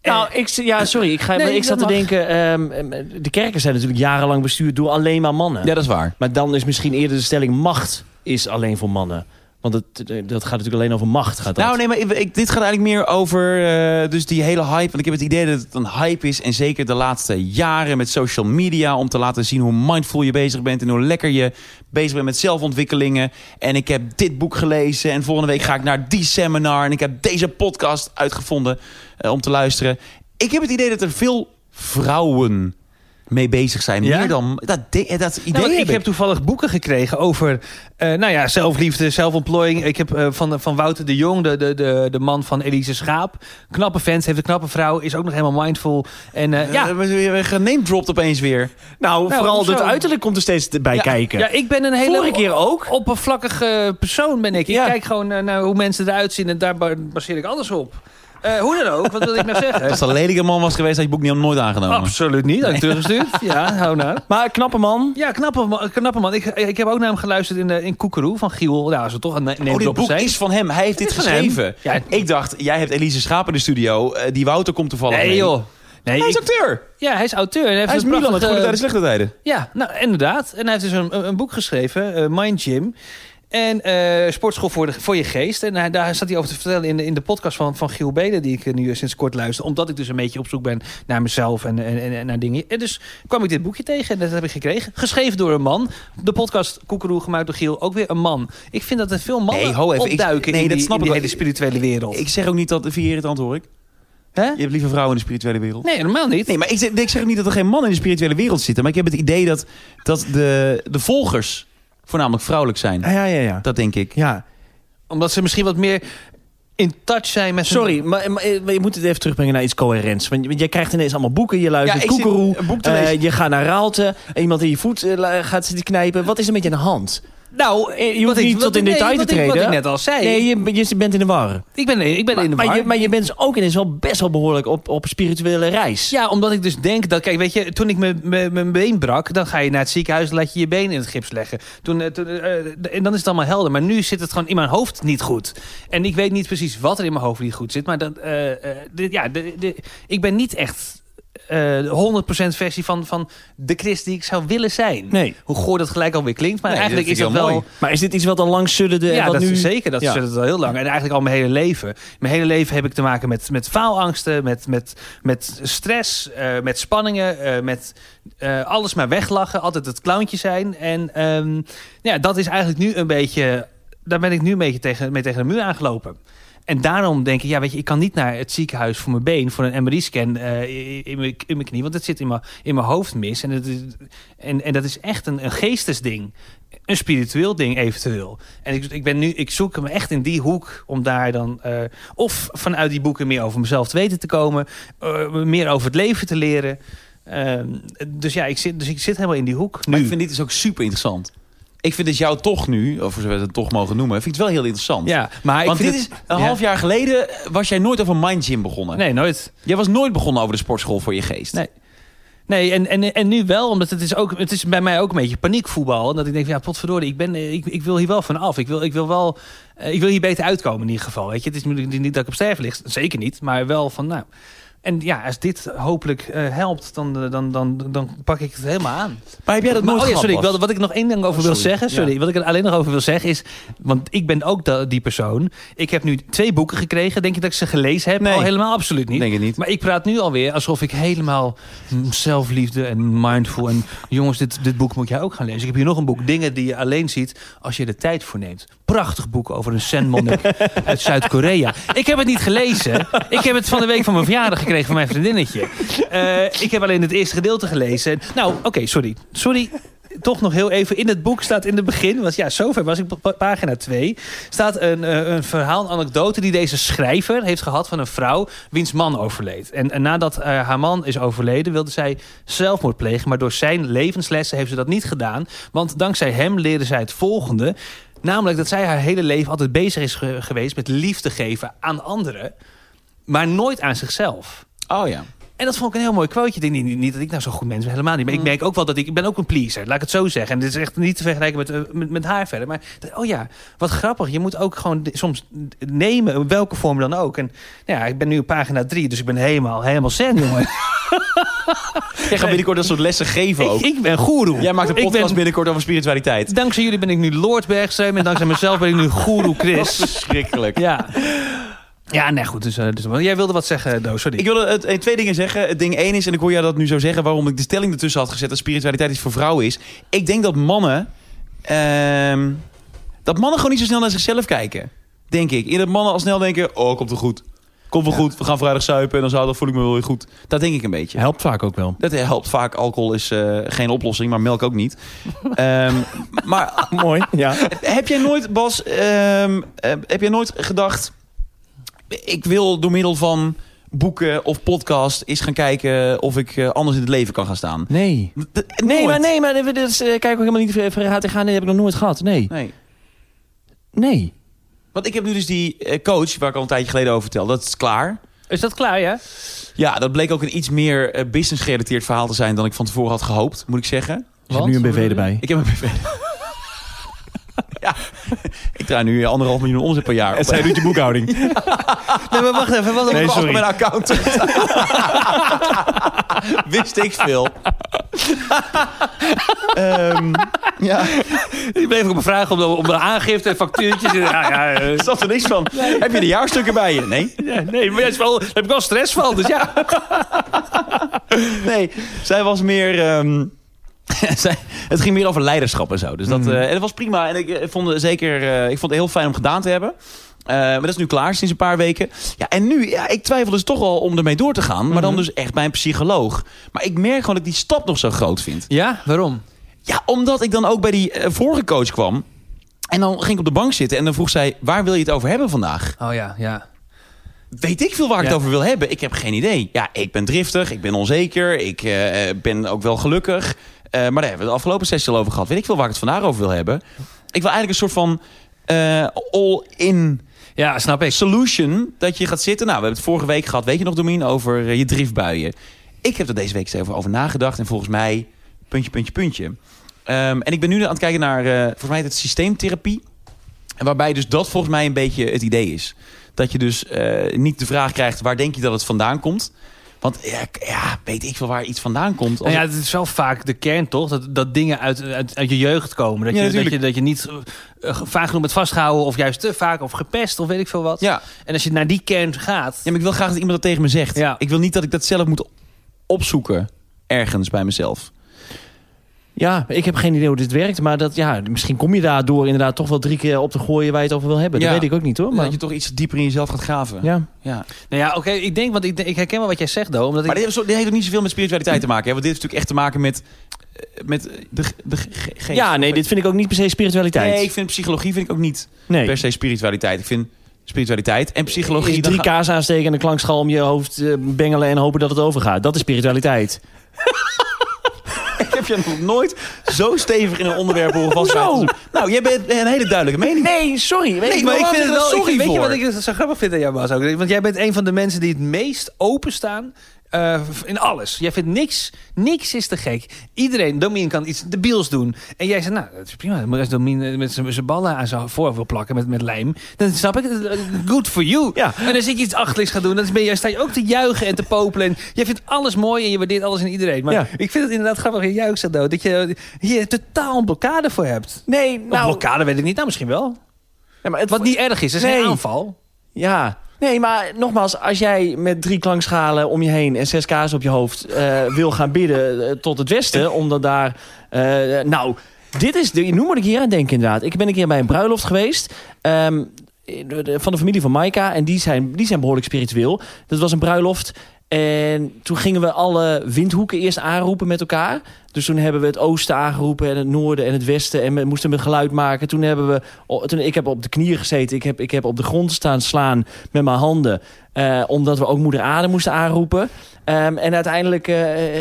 Eh, Nou, ik, z- ja, sorry. Ik, ga, Nee, ik zat te dat mag. denken, ehm, ehm, de kerken zijn natuurlijk jarenlang bestuurd door alleen maar mannen. Ja, dat is waar. Maar dan is misschien eerder de stelling macht is alleen voor mannen. Want het, eh, dat gaat natuurlijk alleen over macht. Gaat dat. Nou, nee, maar ik, ik- dit gaat eigenlijk meer over eh, dus die hele hype. Want ik heb het idee dat het een hype is. En zeker de laatste jaren met social media. Om te laten zien hoe mindful je bezig bent. En hoe lekker je bezig bent met zelfontwikkelingen. En ik heb dit boek gelezen. En volgende week ga ik naar die seminar. En ik heb deze podcast uitgevonden eh, om te luisteren. Ik heb het idee dat er veel vrouwen mee bezig zijn. Ja? Meer dan... Dat, de- eh, dat idee Nou, want heb ik heb toevallig boeken gekregen over eh, nou ja, zelfliefde, zelfontplooiing. Ik heb eh, van, van Wouter de Jong, de, de, de, de man van Elise Schaap. Knappe fans, heeft een knappe vrouw, is ook nog helemaal mindful. En eh, ja, Ja, we zijn genamedropt opeens weer. Nou, Nou, vooral hoezo? het uiterlijk komt er steeds bij ja, kijken. Ja, ik ben een hele Vorige keer ook. oppervlakkige persoon ben ik. Ik Ja. kijk gewoon eh, naar hoe mensen eruit zien en daar ba- baseer ik alles op. Eh, hoe dan ook, wat wil ik nou zeggen? Als het een lelijke man was geweest, had je het boek niet nooit aangenomen. Absoluut niet, dat ik teruggestuurd. Ja, hou nou. Maar knappe man. Ja, knappe man. eh, Knappe man. Ik, ik heb ook naar hem geluisterd in, eh, in Koekeroe van Giel. Ja, zo toch? Een ne- Oh, neemt dit op boek zijn. is van hem. Hij heeft dit is van hem. geschreven. Ja. Ik dacht, jij hebt Elise Schaap in de studio. eh, die Wouter komt toevallig Nee mee. joh. Nee, Hij is ik- acteur. ja, hij is auteur. En hij heeft Hij is een Milan, het prachtige- goede tijden, slechte tijden. Ja, nou inderdaad. En hij heeft dus een, een- een boek geschreven, eh, Mind Gym. En eh, Sportschool voor, de, voor je geest. En hij- daar zat hij over te vertellen in de, in de podcast van, van Giel Belen... die ik eh, nu sinds kort luister. Omdat ik dus een beetje op zoek ben naar mezelf en, en, en- en naar dingen. En dus kwam ik dit boekje tegen en dat heb ik gekregen. Geschreven door een man. De podcast Koekeroe gemaakt door Giel. Ook weer een man. Ik vind dat er veel mannen Nee, ho even, ik- opduiken nee, in, dat die, snap in die ik wel. hele spirituele wereld. Ik zeg ook niet dat... Vind je irritant, hoor ik? Hè? Je hebt liever vrouwen in de spirituele wereld. Nee, helemaal niet. Nee, maar ik zeg, ik zeg ook niet dat er geen mannen in de spirituele wereld zitten. Maar ik heb het idee dat, dat de, de volgers voornamelijk vrouwelijk zijn. Ah, ja, ja, ja. Dat denk ik. Ja, Omdat ze misschien wat meer in touch zijn met hun- Sorry, maar, maar je moet het even terugbrengen naar iets coherents. Want je, want jij krijgt ineens allemaal boeken. Je luistert Ja, ik zit koekeroe. een boek te lezen. eh, je gaat naar Raalte. en Iemand in je voet eh, la- gaat zitten knijpen. Wat is er met je aan de hand? Nou, eh, Je hoeft wat ik- niet wat tot ik- in nee, detail te wat ik- treden. Wat ik net al zei. Nee, je, je bent in de war. ik ben, ik ben in de war. Maar je, maar je bent dus ook ineens wel best wel behoorlijk op, op een spirituele reis. Ja, omdat ik dus denk dat... Kijk, weet je, toen ik mijn- mijn mijn been brak... dan ga je naar het ziekenhuis laat je je been in het gips leggen. Toen, eh, toen, eh, eh, en dan is het allemaal helder. Maar nu zit het gewoon in mijn hoofd niet goed. En ik weet niet precies wat er in mijn hoofd niet goed zit. Maar dat, eh, eh, dit- ja, de, de- ik ben niet echt... eh, de 100% versie van, van de Christ die ik zou willen zijn. Nee. Hoe goor dat gelijk alweer klinkt. Maar Nee, dat eigenlijk is vind dat ik heel wel... mooi. Maar is dit iets wat al lang sudderde? en Ja, wat dat nu... is zeker. Dat Ja. is al heel lang. En eigenlijk al mijn hele leven. Mijn hele leven heb ik te maken met, met faalangsten, met, met, met stress, eh, met spanningen, eh, met eh, alles maar weglachen, altijd het clowntje zijn. En ehm, ja, dat is eigenlijk nu een beetje. Daar ben ik nu een beetje tegen, mee tegen de muur aangelopen. En daarom denk ik, ja, weet je, ik kan niet naar het ziekenhuis voor mijn been, voor een MRI-scan eh, in, mijn- in mijn knie, want het zit in mijn, in mijn hoofd mis. En, het is, en, en dat is echt een, een geestesding, een spiritueel ding eventueel. En ik, ik, ben nu, ik zoek hem echt in die hoek om daar dan, eh, of vanuit die boeken meer over mezelf te weten te komen, eh, meer over het leven te leren. Ehm, dus ja, ik zit, dus ik dus zit helemaal in die hoek. Maar ik vind dit is ook super interessant. Ik vind dat jou toch nu, of zoals we het toch mogen noemen, vind ik het wel heel interessant. Ja, maar ik Want vind dit is het- een ja. half jaar geleden was jij nooit over Mind Gym begonnen. Nee, nooit. Jij was nooit begonnen over de sportschool voor je geest. Nee. Nee, en, en, en nu wel, omdat het is, ook, het is bij mij ook een beetje paniekvoetbal. En dat ik denk, van, ja, potverdorie, ik, ben, ik, ik wil hier wel van af. Ik wil, ik wil wel, eh, ik wil hier beter uitkomen in ieder geval. Weet je? Het is niet niet dat ik op sterven lig, zeker niet. Maar wel van, nou... En ja, als dit hopelijk eh, helpt, dan, eh, dan, dan, dan pak ik het helemaal aan. Maar heb jij dat Maar, nooit oh ja, gehad, sorry, ik Bas? wilde, wat ik nog één ding over wil sorry. zeggen. Sorry, wat ik er alleen nog over wil zeggen is... Want ik ben ook da- die persoon. Ik heb nu twee boeken gekregen. Denk je dat ik ze gelezen heb? Nee. Al helemaal absoluut niet. Denk het niet. Maar ik praat nu alweer alsof ik helemaal mm, zelfliefde en mindful... En jongens, dit, dit boek moet jij ook gaan lezen. Ik heb hier nog een boek, Dingen die je alleen ziet als je er tijd voor neemt. Prachtig boek over een zen-monnik uit Zuid-Korea. Ik heb het niet gelezen. Ik heb het van de week van mijn verjaardag gekregen van mijn vriendinnetje. Eh, ik heb alleen het eerste gedeelte gelezen. Nou, oké, sorry. Sorry. Toch nog heel even. In het boek staat in het begin, want ja, zover was ik op pagina 2, staat een, eh, een verhaal, een anekdote die deze schrijver heeft gehad van een vrouw wiens man overleed. En, en nadat eh, haar man is overleden, wilde zij zelfmoord plegen, maar door zijn levenslessen heeft ze dat niet gedaan, want dankzij hem leerde zij het volgende, namelijk dat zij haar hele leven altijd bezig is ge- geweest met liefde geven aan anderen, maar nooit aan zichzelf. Oh ja. En dat vond ik een heel mooi quoteje. Ik denk niet, niet- niet dat ik nou zo'n goed mens ben, helemaal niet. Maar ik Mm. merk ook wel dat ik, ik ben ook een pleaser, laat ik het zo zeggen. En dit is echt niet te vergelijken met, eh, met, met haar verder. Maar dat- oh ja, wat grappig. Je moet ook gewoon di- soms nemen, welke vorm dan ook. En nou ja, ik ben nu op pagina 3, dus ik ben helemaal, helemaal zen, jongen. Jij gaat binnenkort dat soort lessen geven ook. ik, ik ben goeroe. Jij maakt een Ik ben- podcast binnenkort over spiritualiteit. Dankzij jullie ben ik nu Lord Bergström en dankzij mezelf ben ik nu goeroe Chris. Schrikkelijk. Ja. Ja, nee, goed. Dus, eh, dus, jij wilde wat zeggen, Do, sorry. Ik wilde het, eh, twee dingen zeggen. Het ding één is, en ik hoor jij dat nu zo zeggen... waarom ik de stelling ertussen had gezet... dat spiritualiteit iets voor vrouwen is. Ik denk dat mannen... ehm, dat mannen gewoon niet zo snel naar zichzelf kijken. Denk ik. In dat mannen al snel denken... oh, komt wel goed. Komt wel goed. We gaan vrijdag zuipen... en dan zaterdag voel ik me wel weer goed. Dat denk ik een beetje. Helpt vaak ook wel. Dat helpt vaak. Alcohol is eh, geen oplossing, maar melk ook niet. Ehm, maar Mooi, ja. heb jij nooit, Bas, ehm, eh, heb jij nooit gedacht... ik wil door middel van boeken of podcast eens gaan kijken... of ik eh, anders in het leven kan gaan staan? Nee. D- Nee, nooit. maar nee, maar dit is, eh, kijk ook helemaal niet ver- verraad te gaan. Nee, heb ik nog nooit gehad. Nee. Nee. Nee. Want ik heb nu dus die eh, coach, waar ik al een tijdje geleden over vertel. Dat is klaar. Is dat klaar, ja? Ja, dat bleek ook een iets meer eh, business gerelateerd verhaal te zijn dan ik van tevoren had gehoopt, moet ik zeggen. Er zit nu een BV erbij. Ik heb een BV. ja, ik draai nu anderhalf miljoen omzet per jaar. zij doet je boekhouding. Nee, maar wacht even. Wat Nee, Ik sorry. mijn accountant. Wist ik veel. Ehm, ja, Ik bleef ook me vragen om de, om de aangifte en factuurtjes. en- ja, ja, eh. er zat er niks van. Heb je de jaarstukken bij je? Nee. Ja, nee, maar dat is wel, daar heb ik wel stress van. Dus ja. Nee, zij was meer... ehm, zij, het ging meer over leiderschap en zo. Dus dat, eh, en dat was prima. En ik, eh, vond, het zeker, eh, ik vond het heel fijn om gedaan te hebben. Eh, maar dat is nu klaar sinds een paar weken. Ja, en nu, ja, ik twijfel dus toch al om ermee door te gaan. Maar dan dus echt bij een psycholoog. Maar ik merk gewoon dat ik die stap nog zo groot vind. Ja, waarom? Ja, omdat ik dan ook bij die eh, vorige coach kwam. En dan ging ik op de bank zitten en dan vroeg zij... waar wil je het over hebben vandaag? Oh ja, ja. Weet ik veel waar ik Ja. het over wil hebben? Ik heb geen idee. Ja, ik ben driftig, ik ben onzeker, ik eh, eh, ben ook wel gelukkig. Eh, maar daar hebben we de afgelopen sessie al over gehad. Weet ik veel waar ik het vandaag over wil hebben? Ik wil eigenlijk een soort van eh, all-in Ja, snap ik. solution dat je gaat zitten. Nou, we hebben het vorige week gehad, weet je nog, Domien, over eh, je driftbuien. Ik heb er deze week eens even over nagedacht en volgens mij puntje, puntje, puntje. Ehm, en ik ben nu aan het kijken naar, eh, volgens mij heet het systeemtherapie. En Waarbij dus dat volgens mij een beetje het idee is. Dat je dus eh, niet de vraag krijgt, waar denk je dat het vandaan komt? Want ja, k- ja weet ik wel waar iets vandaan komt. Als Nou ja, het is wel vaak de kern, toch? Dat, dat dingen uit, uit, uit je jeugd komen. Dat, Ja, je, dat, natuurlijk. je, dat je niet eh, eh, vaak genoeg bent vastgehouden... of juist te vaak, of gepest, of weet ik veel wat. ja. En als je naar die kern gaat... Ja, maar ik wil graag dat iemand dat tegen me zegt. Ja. Ik wil niet dat ik dat zelf moet opzoeken ergens bij mezelf. Ja, ik heb geen idee hoe dit werkt. Maar dat, ja, misschien kom je daardoor inderdaad toch wel drie keer op te gooien waar je het over wil hebben. Ja. Dat weet ik ook niet hoor. Maar, Dat je toch iets dieper in jezelf gaat graven. ja. ja. Nou ja, oké, ik denk, want ik, denk- ik herken wel wat jij zegt, Do. Omdat Maar ik, dit heeft, zo- dit heeft ook niet zoveel met spiritualiteit te maken. Hè? Want dit heeft natuurlijk echt te maken met, eh, met eh, de, ge- de ge- ge- geest. ja, nee, dit vind ik ook niet per se spiritualiteit. Nee, ik vind psychologie vind ik ook niet Nee. per se spiritualiteit. Ik vind spiritualiteit en psychologie... Is dan drie ga- kaas aansteken en een klankschaal om je hoofd eh, bengelen en hopen dat het overgaat. Dat is spiritualiteit. Ik heb je nog nooit zo stevig in een onderwerp horen vast. Nou, jij bent een hele duidelijke mening. Nee, sorry. Nee, maar ik vind het wel... sorry ik, Weet vind- je wat voor. ik zo grappig vind aan jou, Bas? Ook? Want jij bent een van de mensen die het meest openstaan... eh in alles. Jij vindt niks, niks is te gek. Iedereen, Domien kan iets debiels doen. En jij zegt, nou, dat is prima. Maar als Domien eh, met zijn- zijn ballen aan zijn voor wil plakken met, met lijm... dan snap ik, het. eh, good for you. Ja. En als ik iets achterlijks ga doen, dan ben je, sta je ook te juichen en te popelen. En jij vindt alles mooi en je waardeert alles in iedereen. Maar Ja. ik vind het inderdaad grappig, wat jij ook zegt, Do, dat je hier totaal een blokkade voor hebt. Nee, Nou, nou... blokkade weet ik niet. Nou, misschien wel. Ja, maar het, Wat niet erg is, dat is Nee. een aanval. Ja. Nee, maar nogmaals, als jij met drie klankschalen om je heen en zes kaas op je hoofd eh, wil gaan bidden eh, tot het westen, omdat daar. eh, nou, dit is. De, nu moet ik hier aan denken, inderdaad. Ik ben een keer bij een bruiloft geweest. ehm, de- de- van de familie van Maika. En die zijn, die zijn behoorlijk spiritueel. Dat was een bruiloft. En toen gingen we alle windhoeken eerst aanroepen met elkaar. Dus toen hebben we het oosten aangeroepen en het noorden en het westen. En we moesten een geluid maken. Toen hebben we, o- toen, ik heb op de knieën gezeten. Ik heb, ik heb op de grond staan slaan met mijn handen. eh, omdat we ook moeder aarde moesten aanroepen. Ehm, en uiteindelijk eh,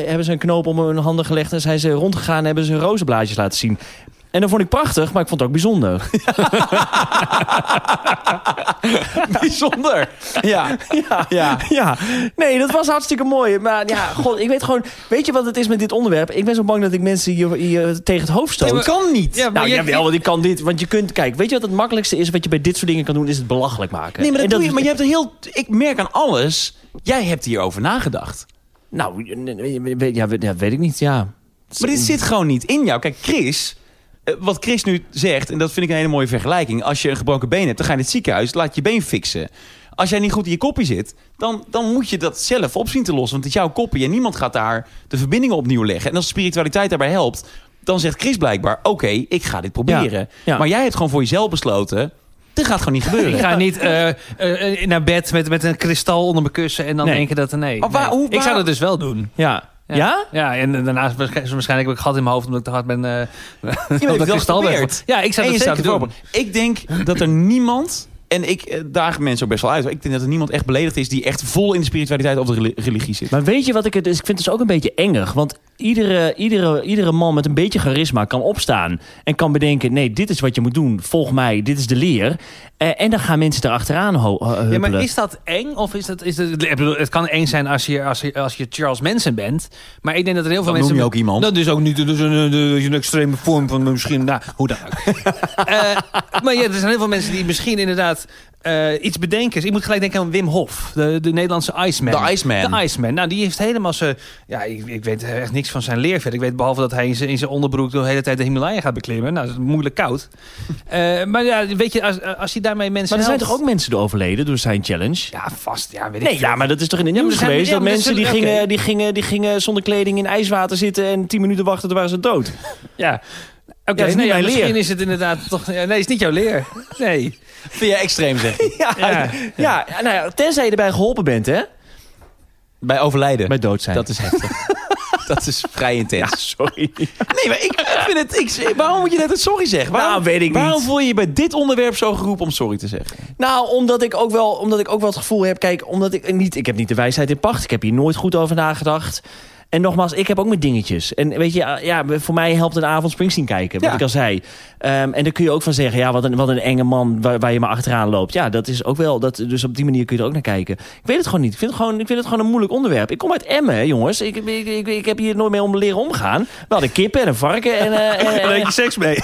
hebben ze een knoop om hun handen gelegd. En zijn ze rondgegaan en hebben ze rozenblaadjes laten zien. En dat vond ik prachtig, maar ik vond het ook bijzonder. Bijzonder. Ja. ja. ja. Ja, nee, dat was hartstikke mooi. Maar ja, god, ik weet gewoon... Weet je wat het is met dit onderwerp? Ik ben zo bang dat ik mensen hier, hier tegen het hoofd stoot. Dat kan niet. Ja, maar nou, je- jawel, want ik kan dit. Want je kunt... Kijk, weet je wat het makkelijkste is wat je bij dit soort dingen kan doen? Is het belachelijk maken. Nee, maar En dat doe je. Maar je hebt een heel... Ik merk aan alles... Jij hebt hierover nagedacht. Nou, weet- ja, weet- ja, weet ik niet, ja. Maar dit zit gewoon niet in jou. Kijk, Chris, eh, wat Chris nu zegt, en dat vind ik een hele mooie vergelijking. Als je een gebroken been hebt, dan ga je naar het ziekenhuis, laat je been fixen. Als jij niet goed in je kopje zit, dan, dan moet je dat zelf op zien te lossen. Want het is jouw kopje en niemand gaat daar de verbindingen opnieuw leggen. En als spiritualiteit daarbij helpt, dan zegt Chris blijkbaar... oké, ik ga dit proberen. ja. Maar jij hebt gewoon voor jezelf besloten... dit gaat gewoon niet Ik gebeuren. ga niet eh, eh, eh, naar bed met, met een kristal onder mijn kussen en dan Nee. denken dat er nee. Maar waar- Oh, nee. hoe- Ik zou waar- dat dus wel doen. Ja. Ja? Ja, en eh, daarnaast waarsch- waarschijnlijk heb ik gat in mijn hoofd omdat ik te hard ben. eh dat het wel kristal weg- geprobeerd. Ja, ik zou En dat je staat zeker ervoor doen. open. Ik denk dat er niemand... En ik eh, daag mensen ook best wel uit. maar Ik denk dat er niemand echt beledigd is die echt vol in de spiritualiteit of de reli- religie zit. Maar weet je wat ik het... is? Ik vind het dus ook een dus beetje engig. Want iedere, iedere, iedere man met een beetje charisma kan opstaan. En kan bedenken, nee, dit is wat je moet doen. Volg mij, dit is de leer. Eh, en dan gaan mensen erachteraan ho- eh, Ja, maar huppelen. is dat eng? Of is dat, is dat, ik bedoel, het kan eng zijn als je, als, je, als je Charles Manson bent. Maar ik denk dat er heel veel Dan mensen... noem je ook iemand. Dat is ook niet dat is een, eh, een extreme vorm van misschien... Nou, hoe dan ook. Eh, maar ja, er zijn heel veel mensen die misschien inderdaad eh, iets bedenken. Ik moet gelijk denken aan Wim Hof. De, de Nederlandse Iceman. De Iceman. De Iceman. Nou, die heeft helemaal zijn... Ja, ik, ik weet echt niks van zijn leervet. Ik weet behalve dat hij in zijn, in zijn onderbroek... de hele tijd de Himalaya gaat beklimmen. Nou, dat is moeilijk koud. Eh, maar ja, weet je, als, als je daarmee mensen Maar er zijn helpt- toch ook mensen door overleden door zijn challenge? ja, vast. Ja, weet ik Nee, veel. ja, maar dat is toch in de nieuws maar er zijn- geweest? ja, dat maar er mensen die zullen- gingen, oké. die, gingen, die gingen zonder kleding in ijswater zitten... en tien minuten wachten, toen waren ze dood. Ja. Oké, dat is nee, niet ja, mijn misschien leer. is het inderdaad toch... ja, nee, is niet jouw leer. Nee. Vind jij extreem, zeg je? Ja, ja. Ja. nou ja, tenzij je erbij geholpen bent, hè? Bij overlijden. Bij dood zijn. Dat is heftig. dat is vrij intens. Sorry. Nee, maar ik, ik vind het... Ik, waarom moet je net het sorry zeggen? Waarom, Nou, weet ik niet. Waarom voel je je bij dit onderwerp zo geroepen om sorry te zeggen? Nou, omdat ik ook wel, omdat ik ook wel het gevoel heb, kijk, omdat ik niet, ik heb niet de wijsheid in pacht. Ik heb hier nooit goed over nagedacht. En nogmaals, ik heb ook mijn dingetjes. En weet je, ah, ja, voor mij helpt een avond Springsteen kijken, wat Ja. ik al zei. Ehm, en daar kun je ook van zeggen, ja, wat een, wat een enge man waar, waar je maar achteraan loopt. Ja, dat is ook wel, dat, dus op die manier kun je er ook naar kijken. Ik weet het gewoon niet. Ik vind het gewoon, ik vind het gewoon een moeilijk onderwerp. Ik kom uit Emmen, hè, jongens. Ik, ik, ik, ik heb hier nooit mee om leren omgaan. We hadden kippen en een varken en, eh, en- en, je seks mee.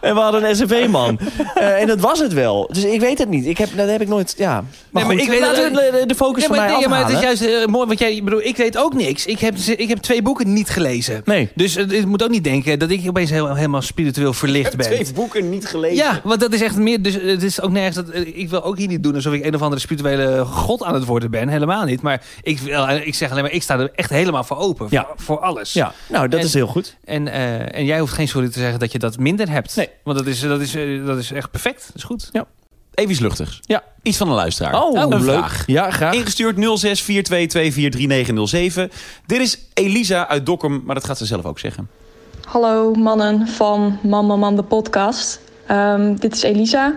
en we hadden een SNV-man. Eh, en dat was het wel. Dus ik weet het niet. Ik heb, dat heb ik nooit... Ja. Maar, maar goed, ik weet laten dat- we de- de focus Nee, van maar, mij nee, maar afhalen. het is juist eh, mooi, want jij, ik bedoel, ik weet ook niks. Ik heb, ik heb twee boeken niet gelezen. Nee. Dus eh, ik moet ook niet denken dat ik opeens heel, helemaal spiritueel verlicht ben. boeken niet gelezen. Ja, want dat is echt meer. Dus eh, het is ook nergens. Dat, eh, ik wil ook hier niet doen alsof ik een of andere spirituele god aan het worden ben. Helemaal niet. Maar ik, wil- eh, ik zeg alleen maar, ik sta er echt helemaal voor open. Ja. Voor, voor alles. Ja, nou, dat En- is heel goed. En, eh, en jij hoeft geen sorry te zeggen dat je dat minder hebt. Nee. Want dat is, dat is, eh, dat is echt perfect. Dat is goed. Even iets luchtigs. Ja. Iets van een luisteraar. een vraag. Ja, graag. Ingestuurd 0642243907. Dit is Elisa uit Dokkum, maar dat gaat ze zelf ook zeggen. Hallo mannen van Man Man Man de podcast. Ehm, dit is Elisa.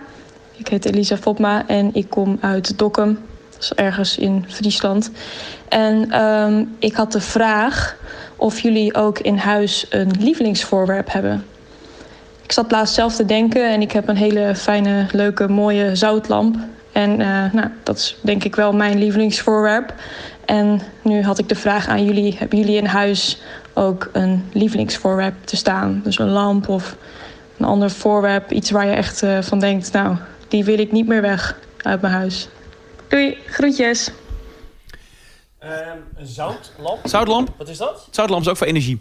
Ik heet Elisa Fopma en ik kom uit Dokkum. Dat is ergens in Friesland. En ehm, ik had de vraag of jullie ook in huis een lievelingsvoorwerp hebben. Ik zat laatst zelf te denken en ik heb een hele fijne, leuke, mooie zoutlamp. En eh, nou, dat is denk ik wel mijn lievelingsvoorwerp. En nu had ik de vraag aan jullie: hebben jullie in huis ook een lievelingsvoorwerp te staan? Dus een lamp of een ander voorwerp, iets waar je echt eh, van denkt: nou, die wil ik niet meer weg uit mijn huis. Doei, groetjes. een zoutlamp, Zoutlamp. wat is dat? Zoutlamp is ook voor energie.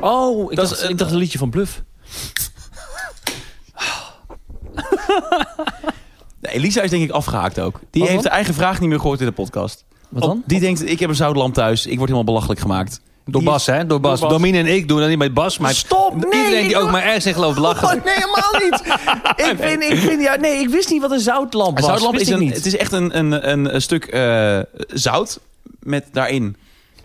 Oh, ik, Dat dacht, is- ik dacht een liedje van Bluff. Nou, Elisa is denk ik afgehaakt ook. Die Wat heeft dan? haar eigen vraag niet meer gehoord in de podcast. Wat dan? Die denkt, ik heb een zoutlamp thuis. Ik word helemaal belachelijk gemaakt. Door Die- Bas, hè? Door Bas. Bas. Domine en ik doen dat niet met Bas. Maar Stop, nee, Iedereen ik die ook doe- maar ergens in gelooft lachen. Oh, nee, helemaal niet. ik, vind, ik, vind, ja, nee, ik wist niet wat een zoutlamp was. Een zoutlamp Wist is ik een, niet. het is echt een, een, een, een stuk eh, zout met daarin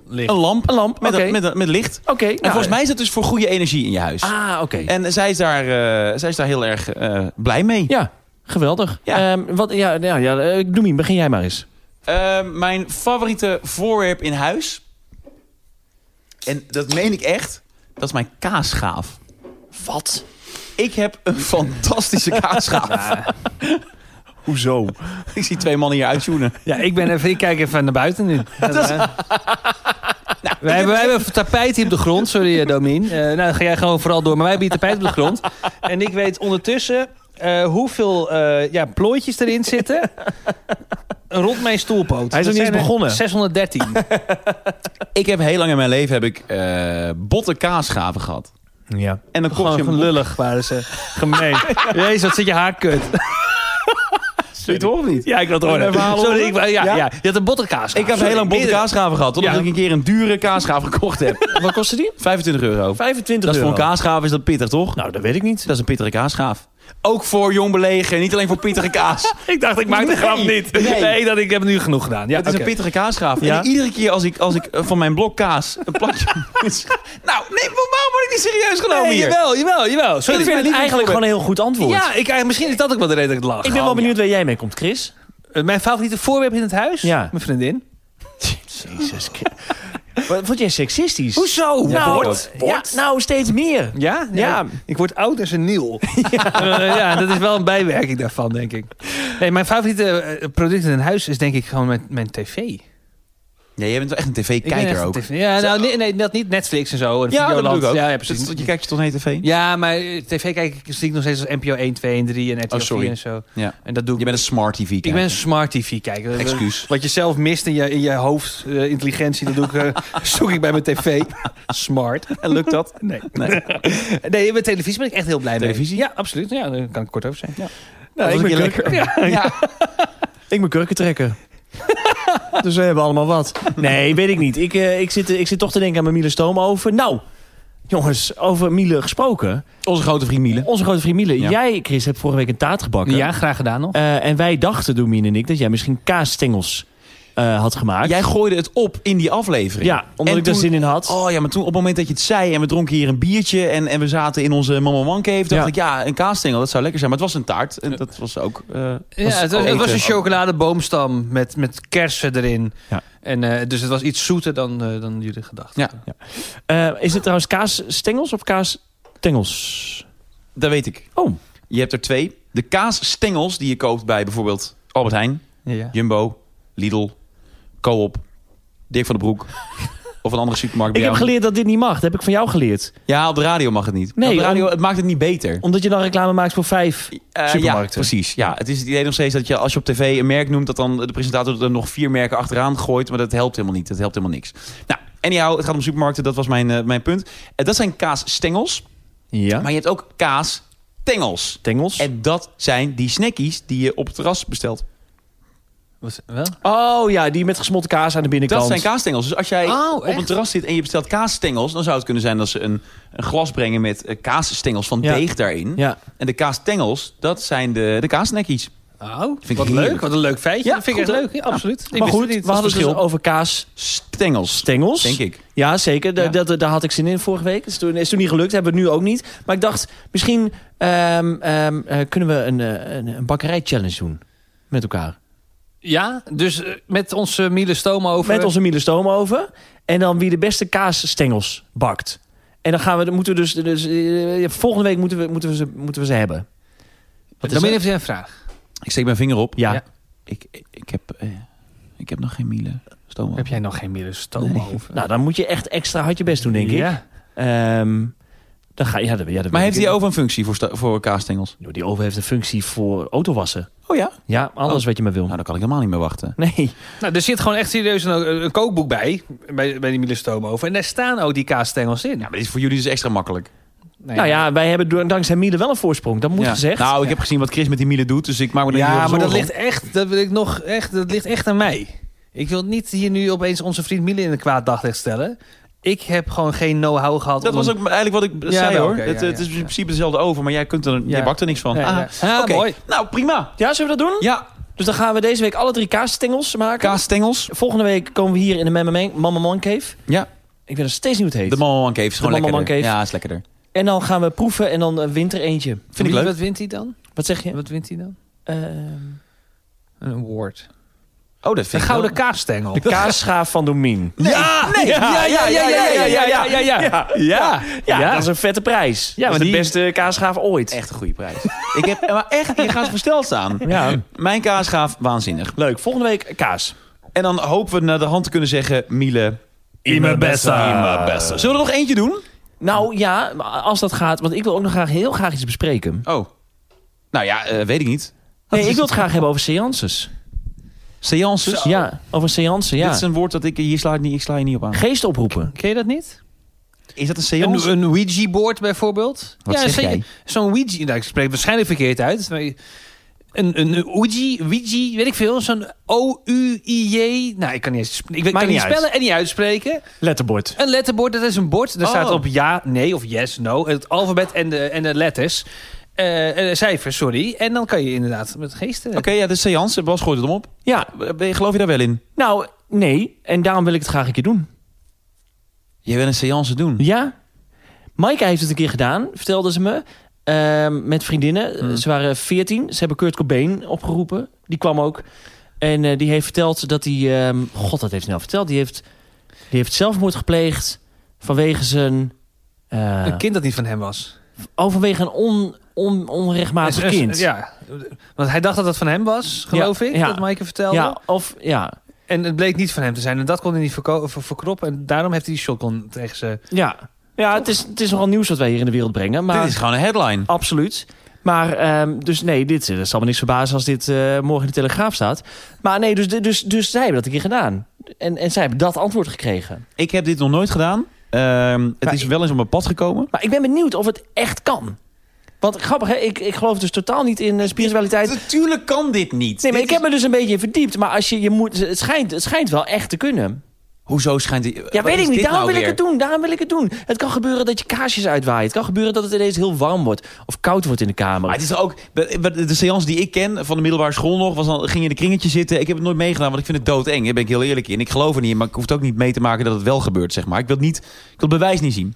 een lamp, een lamp met, oké. met, met, met licht. Oké. nou, En volgens mij is dat dus voor goede energie in je huis. Ah, oké. En zij is daar, eh, zij is daar heel erg eh, blij mee. Ja, geweldig. Ja. Ehm, wat, ja, ja, ja, eh, Noemien, begin jij maar eens. Eh, mijn favoriete voorwerp in huis. En dat meen ik echt. Dat is mijn kaasschaaf. Wat? Ik heb een fantastische kaasschaaf. Hoezo? Ik zie twee mannen hier uitzoenen. Ja, ik ben even... Ik kijk even naar buiten nu. wij, hebben, wij hebben tapijt hier op de grond. Sorry, eh, Domien. Eh, nou, dan ga jij gewoon vooral door. Maar wij hebben hier tapijt op de grond. En ik weet ondertussen eh, hoeveel eh, ja, plooitjes erin zitten... Rond mijn stoelpoot. Hij is Dat nog niet zijn eens er begonnen. 613. Ik heb heel lang in mijn leven heb ik, eh botte kaasschaven gehad. Ja. En dan kom je Gewoon lullig waren ze. Gemeen. Jezus, wat zit je haar kut. Zul je het horen of niet? Ja, ik wil het horen. Sorry, ik, eh, ja, Ja? ja? je had een bottenkaas. Ik heb heel lang botte kaasschaven gehad. Totdat Ja. ik een keer een dure kaasschaaf gekocht heb. Wat kostte die? 25 euro. 25 Dat is voor euro. een kaasschaaf is dat pittig, toch? Nou, dat weet ik niet. Dat is een pittige kaasschaaf. Ook voor jong belegen, niet alleen voor pittige kaas. Ik dacht, ik maak de grap niet. nee. Nee, dat, ik heb nu genoeg gedaan. Ja, het is oké. een pittige kaasschaaf. Ja. En iedere keer als ik, als ik eh, van mijn blok kaas een plakje... nou, nee, maar waarom word ik niet serieus genomen Nee, hier? jawel, jawel, jawel. Sorry. ik vind het eigenlijk gewoon een heel goed antwoord. Ja, ik, eh, misschien is dat ook wel de reden dat ik het lach. Ik ben wel benieuwd waar jij mee komt, Chris. Eh, Mijn favoriete voorwerp in het huis? Ja. Mijn vriendin. Jezus Wat vond jij seksistisch? Hoezo? Nou, Wordt. ja, nou, steeds meer. Ja? Ja. Ik word oud als een niel. ja. dat is wel een bijwerking daarvan, denk ik. Nee, mijn favoriete eh, product in huis is denk ik gewoon mijn, mijn tv. Ik Ja, jij bent wel echt een ben echt tv-kijker een ook. TV. Ja, nou, nee, nee, dat niet Netflix en zo. En Ja, dat Videoland. bedoel ik ook. Ja, ja, Dus precies. Je kijkt je toch naar de tv? Ja, maar eh, tv kijk ik zie ik nog steeds als NPO 1, 2 en 3 en RTL Oh, sorry. 4 en zo. Ja. En dat doe Je ik. bent een smart tv ik ben een smart tv kijker. Excuus. Wat je zelf mist in je, in je hoofd, eh, intelligentie, dat doe ik, eh, zoek ik bij mijn tv. Smart. En lukt dat? Nee. nee. nee, met televisie ben ik echt heel blij Televisie? mee. Ja, absoluut. Ja, daar kan ik kort over zijn. Ja. Nou, ik, ben kurk, Ja. ik ben kurkentrekker. dus we hebben allemaal wat. Nee, weet ik niet. Ik, eh, ik, zit, ik zit toch te denken aan mijn Miele Stoomover. Nou, jongens, over Miele gesproken. Onze grote vriend Miele. Onze grote vriend Miele. Ja. Jij, Chris, hebt vorige week een taart gebakken. graag gedaan nog. Eh, en wij dachten, Domien en ik, dat jij misschien kaasstengels eh, had gemaakt. Jij gooide het op in die aflevering. ja, omdat En ik daar toen- zin in had. Oh ja, maar toen op het moment dat je het zei en we dronken hier een biertje en, en we zaten in onze Mama Man Cave, dacht Ja. ik ja, een kaasstengel, dat zou lekker zijn. Maar het was een taart en dat was ook. eh, Ja, het was, het eten. was een chocoladeboomstam met, met kersen erin. Ja. En, eh, dus het was iets zoeter dan, eh, dan jullie gedachten. Ja. Eh, is het trouwens kaasstengels of kaastengels? dat weet ik. Oh, Je hebt er twee. De kaasstengels die je koopt bij bijvoorbeeld Albert Heijn, Ja. Jumbo, Lidl, Coop, Dirk van den Broek of een andere supermarkt. ik bij heb jou. geleerd dat dit niet mag. Dat heb ik van jou geleerd. Ja, op de radio mag het niet. Nee, op de radio, om- het maakt het niet beter. Omdat je dan reclame maakt voor vijf. Eh, Supermarkten. Ja, precies. Ja, het is het idee nog steeds dat je als je op tv een merk noemt, dat dan de presentator er nog vier merken achteraan gooit. Maar dat helpt helemaal niet. Dat helpt helemaal niks. Nou, anyhow, het gaat om supermarkten. Dat was mijn, eh, mijn punt. Eh, dat zijn kaasstengels. Ja. Maar je hebt ook kaastengels. Tengels. En dat zijn die snackies die je op het terras bestelt. Was, wel? Oh ja, die met gesmolten kaas aan de Dat binnenkant. zijn kaasstengels. Dus als jij Oh, op een echt? terras zit en je bestelt kaasstengels, dan zou het kunnen zijn dat ze een, een glas brengen met eh, kaasstengels van Ja. deeg daarin. Ja. En de kaasstengels, dat zijn de, de kaasnackies. Oh, ik wat heerlijk. leuk. Wat een leuk feitje. Ja, dat vind ik goed, echt hè? leuk. Ja, absoluut. Ik Maar wist goed, het niet. we hadden het dus verschil. over kaasstengels. Stengels, denk ik. Ja, zeker. Da- Ja. Dat, daar had ik zin in vorige week. Is toen, is toen niet gelukt. Hebben we het nu ook niet. Maar ik dacht, misschien ehm, ehm, eh, kunnen we een, eh, een, een bakkerij-challenge doen. Met elkaar. Ja, dus eh, met onze Miele Stoom over. Met onze Miele Stoomoven. En dan wie de beste kaasstengels bakt. En dan gaan we, dan moeten we dus, dus eh, volgende week moeten we, moeten we, ze, moeten we ze hebben. Wat is eh, Domien dat? heeft een vraag. Ik steek mijn vinger op. Ja. Ja. Ik, ik- ik, heb, eh, ik heb nog geen miele stoom. Heb jij nog geen Miele Stoom over? Nou, dan moet je echt extra hard je best doen, denk ik. Ja. Ehm, dan ga, ja, dat, ja, dat Maar weet heeft ik hij niet. over een functie voor, sta- voor kaastengels? Nou, Die oven heeft een functie voor autowassen. Oh ja? Nou, Ja, alles Oh. wat je maar wil. dan kan ik helemaal niet meer wachten. Nee. Nou, er zit gewoon echt serieus een, een kookboek bij, bij, bij die Miele over. En daar staan ook die kaasstengels in. Ja, maar dit is voor jullie dus extra makkelijk. Nee. Nou ja, wij hebben door- dankzij Miele wel een voorsprong. Dat moet Ja. gezegd. Nou, ik heb gezien wat Chris met die miele doet, dus ik maak me er niet heel ja, maar veel dat zorgen ligt, echt, dat, wil ik nog echt, dat ligt echt aan mij. Ik wil niet hier nu opeens onze vriend Miele in een kwaad daglicht stellen. Ik heb gewoon geen know-how gehad. om. Dat om was een- ook eigenlijk wat ik Ja, zei wel, hoor. oké, het, eh, ja, het is ja, in ja. principe dezelfde over, maar jij, kunt er, jij Ja. bakt er niks van. Ja, Ah, ja. Ah, oké. mooi. Nou, prima. Ja, zullen we dat doen? Ja, Dus dan gaan we deze week alle drie kaasstengels maken. kaasstengels. Volgende week komen we hier in de Mama Man- Mama Man Cave. Ja, Ik weet nog steeds niet hoe het de heet. Mamman Cave is gewoon Mamma Man lekkerder. Cave. Ja, is lekkerder. en dan gaan we proeven en dan eh, wint er eentje. Vind ik Wie- leuk. Wat wint hij dan? Wat zeg je? Wat wint hij dan? Ehm, Een award. Oh, dat Een vind ik gouden wel. kaasstengel. de kaasschaaf van Domien. Ja! Nee! Ja, ja, ja, ja, ja, ja, ja, ja, ja. Ja. Ja, Ja. dat is een vette prijs. Ja, maar dat is de die- beste kaasschaaf ooit. Echt een goede prijs. ik heb, maar echt, je gaat versteld staan. Ja. Mijn kaasgaaf, waanzinnig. Leuk. Volgende week kaas. En dan hopen we naar de hand te kunnen zeggen, Miele. In mijn Zullen we er nog eentje doen? Nou ja, maar als dat gaat. Want ik wil ook nog graag heel graag iets bespreken. Oh. Nou ja, eh, weet ik niet. Nee, ik wil het graag hebben over seances. Seances. Ja, over seances, Dit ja. is een woord dat ik hier sla, ik niet, ik sla je niet op aan. Geest oproepen. Ken je dat niet? Is dat een Een, seance? een Ouija-board bijvoorbeeld. Wat zeg zeker. jij? Zo'n Ouija... Nou, ik spreek het waarschijnlijk verkeerd uit. Maar een, een Ouija, Ouija, weet ik veel. Zo'n O-U-I-J. Nou, ik kan niet, eens, sp- ik weet- Maakt kan niet niet uit. spellen en niet uitspreken. Letterbord. Een letterbord, dat is een bord. Daar Oh. staat op ja, nee of yes, no. Het alfabet en de, en de letters. Eh, eh, cijfers, sorry. En dan kan je inderdaad met geesten... eh, Oké, ja, de seance. Bas gooit het om op. Ja, eh, Ben je- Geloof je daar wel in? nou, nee. En daarom wil ik het graag een keer doen. Je wil een seance doen. Ja. Maaike heeft het een keer gedaan, vertelde ze me. Hmm. Ehm, met vriendinnen. Ze waren 14. Ze hebben Kurt Cobain opgeroepen. Die kwam ook. En eh, die heeft verteld dat hij... ehm, God, dat heeft hij nou verteld. Die heeft, die heeft zelfmoord gepleegd vanwege zijn... eh, Een kind dat niet van hem was. oh, vanwege een on, on, onrechtmatig Een- een- kind. Ja, want hij dacht dat dat van hem was, geloof Ja, ik, ja. dat Maaike vertelde. Ja, of... Ja, En het bleek niet van hem te zijn. En dat kon hij niet verko- ver- verkroppen. En daarom heeft hij die shotgun tegen ze. ja. ja het, is, het is nogal nieuws wat wij hier in de wereld brengen. Maar Dit is gewoon een headline. Absoluut. Maar, ehm, dus nee, dit eh, zal me niks verbazen als dit eh, morgen in de Telegraaf staat. Maar nee, dus, dus, dus zij hebben dat een keer gedaan. En, en zij hebben dat antwoord gekregen. Ik heb dit nog nooit gedaan. Ehm, het Maar is ik- wel eens op mijn pad gekomen. Maar ik ben benieuwd of het echt kan. Want grappig, hè? Ik, ik geloof dus totaal niet in eh, spiritualiteit. Natuurlijk kan dit niet. Nee, maar ik Dit heb is- me dus een beetje in verdiept. Maar als je, je moet, het, schijnt, het schijnt wel echt te kunnen. Hoezo schijnt die... Ja, Wat weet is ik niet. dit Daarom nou wil ik weer? het doen. Daarom wil ik het doen. Het kan gebeuren dat je kaarsjes uitwaait. Het kan gebeuren dat het ineens heel warm wordt. Of koud wordt in de kamer. Maar het is toch ook, de de seance die ik ken van de middelbare school nog, was dan, ging je in een kringetje zitten. Ik heb het nooit meegedaan, want ik vind het doodeng. Daar ben ik heel eerlijk in. Ik geloof er niet in, maar ik hoef het ook niet mee te maken dat het wel gebeurt, zeg maar. Ik wil het, niet, ik wil het bewijs niet zien.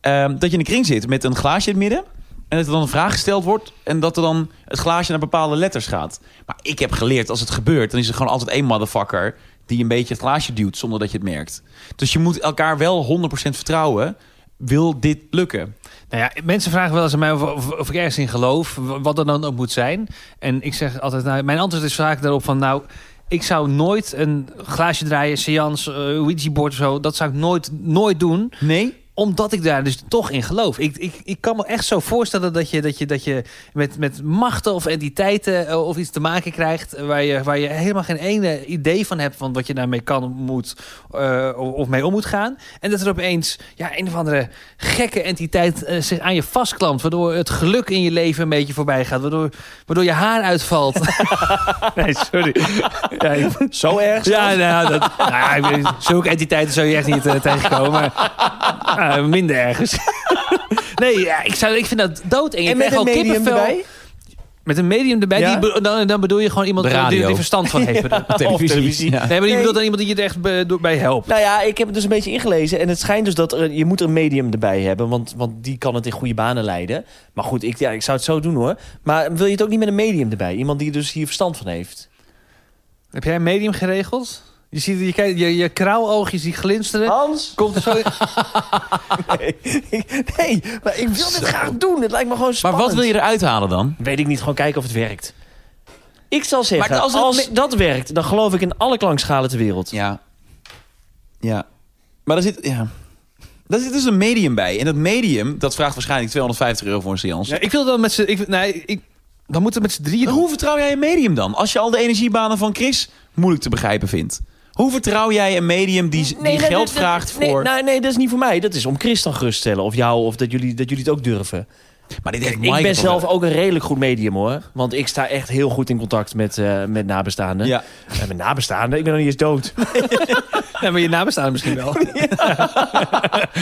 Ehm, dat je in een kring zit met een glaasje in het midden. En dat er dan een vraag gesteld wordt. En dat er dan het glaasje naar bepaalde letters gaat. Maar ik heb geleerd, als het gebeurt, dan is er gewoon altijd één motherfucker... die een beetje het glaasje duwt, zonder dat je het merkt. Dus je moet elkaar wel 100% vertrouwen. Wil dit lukken? Nou ja, mensen vragen wel eens aan mij of, of, of ik ergens in geloof. w- Wat er dan ook moet zijn. En ik zeg altijd, nou, mijn antwoord is vaak daarop van... nou, ik zou nooit een glaasje draaien, seance, eh Ouija-board of zo... dat zou ik nooit, nooit doen. Nee? Omdat ik daar dus toch in geloof. Ik, ik, ik kan me echt zo voorstellen dat je, dat je, dat je met, met machten of entiteiten eh, of iets te maken krijgt. eh, Waar je, waar je helemaal geen ene idee van hebt van wat je daarmee kan, moet eh, of of mee om moet gaan. En dat er opeens ja, een of andere gekke entiteit eh, zich aan je vastklampt. Waardoor het geluk in je leven een beetje voorbij gaat. Waardoor, waardoor je haar uitvalt. nee, sorry. Ja, ik- Zo erg? ja, nou, ja, dat, nou, ja, ik weet- zulke entiteiten zou je echt niet eh, tegenkomen. Maar, eh, minder ergens. nee, ja, ik, zou, ik vind dat dood. En, je krijgt al kippenvel. Met een medium erbij. Ja? Die, be- dan, dan bedoel je gewoon iemand De eh, die radio. er verstand van heeft. televisie. Ja. Nee, maar je bedoelt dan iemand die je er echt be- door- bij helpt. Nou ja, ik heb het dus een beetje ingelezen. En het schijnt dus dat er, je moet een medium erbij hebben. Want, want die kan het in goede banen leiden. Maar goed, ik, ja, ik zou het zo doen hoor. Maar wil je het ook niet met een medium erbij? Iemand die dus hier verstand van heeft. Heb jij een medium geregeld? Je ziet je, kijkt- je, je krauwoogjes die glinsteren. Hans? Komt er zo... Nee, nee maar ik wil dit graag doen. Het lijkt me gewoon Maar spannend. wat wil je eruit halen dan? Weet ik niet, gewoon kijken of het werkt. Ik zal zeggen, Maar als, als het me- dat werkt... dan geloof ik in alle klankschalen ter wereld. Ja. Ja. Maar daar zit, ja. daar zit dus een medium bij. En dat medium, dat vraagt waarschijnlijk 250 euro voor een seance. Ja, ik wil dan met z'n... ik- Nee, ik, dan moeten we met z'n drieën... Maar doen. hoe vertrouw jij een medium dan? Als je al de energiebanen van Chris moeilijk te begrijpen vindt. Hoe vertrouw jij een medium die, die Nee, nee, geld dat- dat- vraagt nee, nou, voor... Nee, nee, dat is niet voor mij. Dat is om Chris dan gerust te stellen. Of jou, of dat jullie, dat jullie het ook durven. maar dit heeft Ik Maaike ben toch zelf wel- ook een redelijk goed medium hoor. Want ik sta echt heel goed in contact met, eh, met nabestaanden. Ja. Eh, met nabestaanden? Ik ben nog niet eens dood. Ja, maar je nabestaanden misschien wel.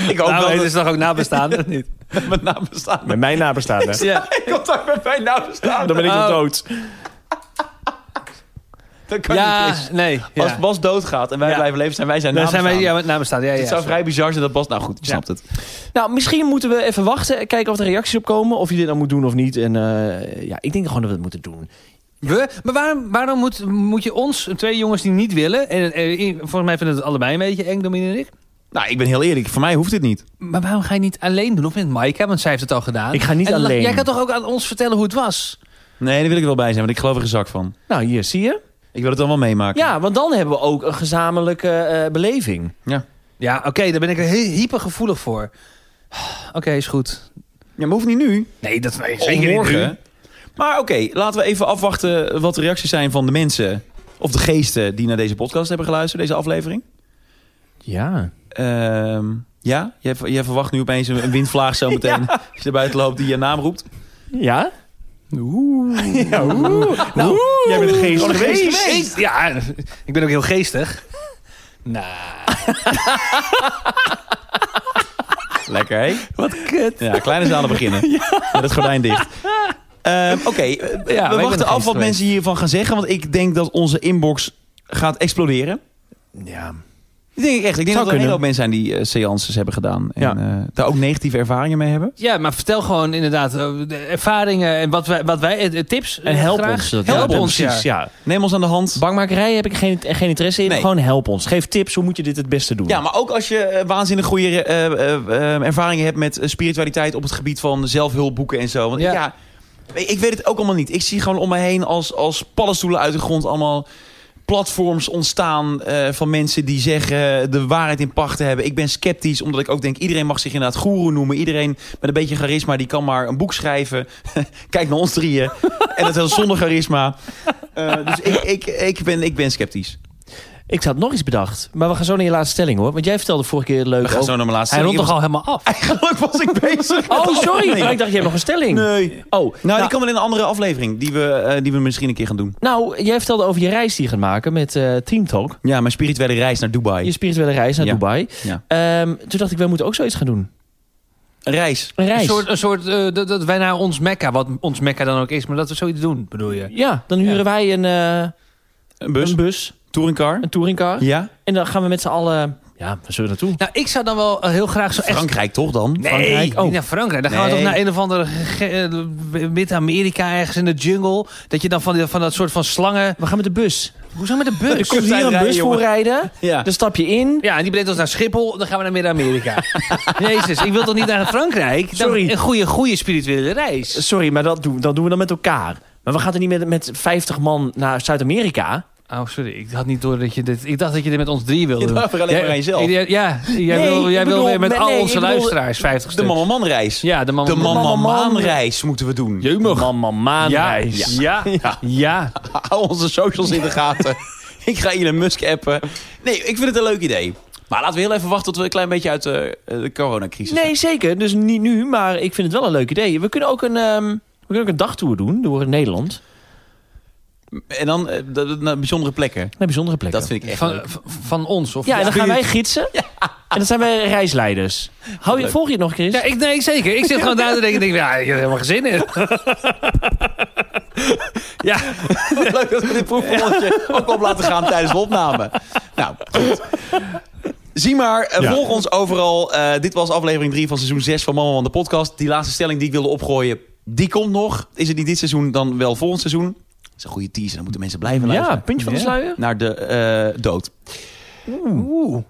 Ik hoop Nou, wel nee, dat dat is toch ook nabestaanden? of niet? het met nabestaanden... Met mijn nabestaanden. Ja. In contact met mijn nabestaanden. Dan ben ik nog Oh. dood. Dat kan niet, ja, Chris. nee. Ja. Als Bas doodgaat en wij Ja. blijven leven, zijn wij zijn dan zijn wij nabestaanden. ja, met nabestaanden. Ja, ja, Het zou zo. vrij bizar zijn dat Bas... Nou goed, je snapt het. Nou, misschien moeten we even wachten. Kijken of er reacties op komen. Of je dit dan moet doen of niet. En eh, ja, ik denk gewoon dat we het moeten doen. We? Maar waarom, waarom moet, moet je ons, twee jongens die niet willen... En, eh, i- volgens mij vinden het allebei een beetje eng, Dominique en ik. Nou, ik ben heel eerlijk. Voor mij hoeft dit niet. Maar waarom ga je niet alleen doen? Of met Maaike, want zij heeft het al gedaan. Ik ga niet En dan- alleen. Jij kan toch ook aan ons vertellen hoe het was? Nee, daar wil ik wel bij zijn, want ik geloof er een zak van. Nou, hier, zie je? Ik wil het dan wel meemaken. Ja, want dan hebben we ook een gezamenlijke eh, beleving. Ja, oké, daar ben ik er hy- hypergevoelig voor. Oké, is goed. ja maar hoeft niet nu. Nee, dat nee, Maar oké, laten we even afwachten wat de reacties zijn van de mensen... of de geesten die naar deze podcast hebben geluisterd, deze aflevering. Ja. Ehm, ja, jij, ver- jij verwacht nu opeens een een windvlaag zo meteen... als je naar buiten loopt die je naam roept. Ja? Oeh. Ja, Nou, jij bent geest geweest. Geest. Oh, Ja, ik ben ook heel geestig. Nou, Lekker, hè? wat eh, kut. Ja, kleine zalen beginnen. Met het gordijn dicht. Ehm, Oké, eh, wij we zijn wachten af geest wat geweest. mensen hiervan gaan zeggen... want ik denk dat onze inbox gaat exploderen. Ja. Dat denk ik echt. Ik denk Zou dat kunnen. er een hele hoop mensen zijn die eh seances hebben gedaan. En Ja. eh, daar ook negatieve ervaringen mee hebben. Ja, maar vertel gewoon inderdaad eh, de ervaringen en wat wij, wat wij eh, tips. eh, En help graag. ons. Dat- Help ja, ons, ja. precies, ja. Neem ons aan de hand. Bankmakerij heb ik geen, geen interesse in. Nee. Gewoon help ons. Geef tips, hoe moet je dit het beste doen? Ja, maar ook als je eh, waanzinnig goede eh, eh, eh, ervaringen hebt met eh, spiritualiteit op het gebied van zelfhulpboeken en zo. Want ja. Ja. ik- ik weet het ook allemaal niet. Ik zie gewoon om me heen als, als paddenstoelen uit de grond allemaal platforms ontstaan eh, van mensen die zeggen eh, de waarheid in pacht te hebben. Ik ben sceptisch, omdat ik ook denk iedereen mag zich inderdaad goeroe noemen. Iedereen met een beetje charisma, die kan maar een boek schrijven. Kijk naar ons drieën. en dat is zonder charisma. Eh, dus ik, ik, ik, ben, ik ben sceptisch. Ik had nog iets bedacht. Maar we gaan zo naar je laatste stelling hoor. Want jij vertelde vorige keer leuk We gaan over- zo naar mijn laatste Hij rondt stelling. toch al helemaal af. Eigenlijk was ik bezig. met Oh, sorry. aflevering. Ik dacht, je hebt nog een stelling. Nee. Oh, nou, Nou, die kan wel in een andere aflevering. Die we, eh, die we misschien een keer gaan doen. nou, jij vertelde over je reis die je gaat maken met eh Team Talk. Ja, mijn spirituele reis naar Dubai. Je spirituele reis naar Ja. Dubai. Ja. Ehm, toen dacht ik, wij moeten ook zoiets gaan doen. Een reis. Een reis. Een soort, een soort eh, dat, dat wij naar ons Mekka, wat ons Mekka dan ook is, maar dat we zoiets doen, bedoel je? Ja, dan huren wij een, eh, Een bus. een bus, touringcar. een touringcar. Ja. En dan gaan we met z'n allen... Ja, waar zullen we naartoe? Nou, ik zou dan wel eh, heel graag zo echt... Frankrijk toch dan? Nee, Frankrijk. niet Oh. naar Frankrijk. Dan gaan we Nee. toch naar een of andere ge- eh, Mid-Amerika ergens in de jungle. Dat je dan van, die- van dat soort van slangen... We gaan met de bus. Hoezo met de Er bus? komt hier een bus rijden, jongen. voor rijden. Ja. Dan stap je in. Ja, en die brengt ons naar Schiphol. Dan gaan we naar Midden-Amerika. Jezus, ik wil toch niet naar Frankrijk? Dan Sorry. Een goede, goede spirituele reis. Sorry, maar dat doen, dat doen we dan met elkaar. Maar we gaan er niet met, met 50 man naar Zuid-Amerika. Oh, sorry. Ik had niet door dat je dit... Ik dacht dat je dit met ons drie wilde Je doen. dacht er alleen maar aan jezelf. Ja, ja, jij Nee, wil, ik jij wil bedoel, weer met nee, al nee, onze ik bedoel- luisteraars 50 De stuks. man reis. Ja, de man. De man- man man- reis moeten we doen. Man, man, man, Ja, ja, reis. ja, ja. Hou onze socials in de gaten. ik ga Elon Musk appen. Nee, ik vind het een leuk idee. Maar laten we heel even wachten tot we een klein beetje uit de, eh, de coronacrisis Nee, zeker. Dus niet nu, maar ik vind het wel een leuk idee. We kunnen ook een, ehm, we kunnen ook een dagtour doen door Nederland. En dan eh, dat- dat- naar bijzondere plekken. Naar bijzondere plekken. Dat vind ik echt Van, leuk. v- van ons. Of Ja, en dan gaan wij gidsen. En dan zijn wij reisleiders. Hou je, Leuk. volg je het nog, Chris? Ja, ik, nee, zeker. Ik zit gewoon daar te denken. Denk, ik, ja, ik heb er helemaal geen zin in. ja, Leuk dat we dit proefballetje ook op laten gaan tijdens de opname. Nou, goed. Zie maar, eh, volg ons overal. Eh, dit was aflevering 3 van seizoen 6 van Mama van de podcast. Die laatste stelling die ik wilde opgooien, die komt nog. Is het niet dit seizoen, dan wel volgend seizoen. Dat is een goede teaser, dan moeten mensen blijven ja, luisteren. puntje van de sluier. Naar de eh, dood.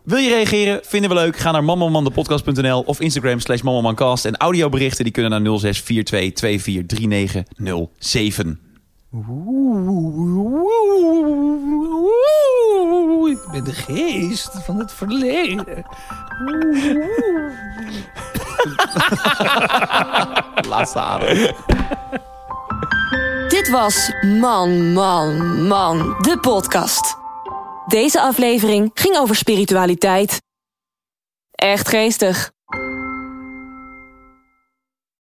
Wil je reageren? Vinden we leuk? Ga naar mamamandepodcast.nl of Instagram slash mamamanCast. En audioberichten die kunnen naar 0642243907. ik ben de geest van het verleden. Laatste adem. Dit was Man, Man, Man, de podcast. Deze aflevering ging over spiritualiteit. Echt geestig.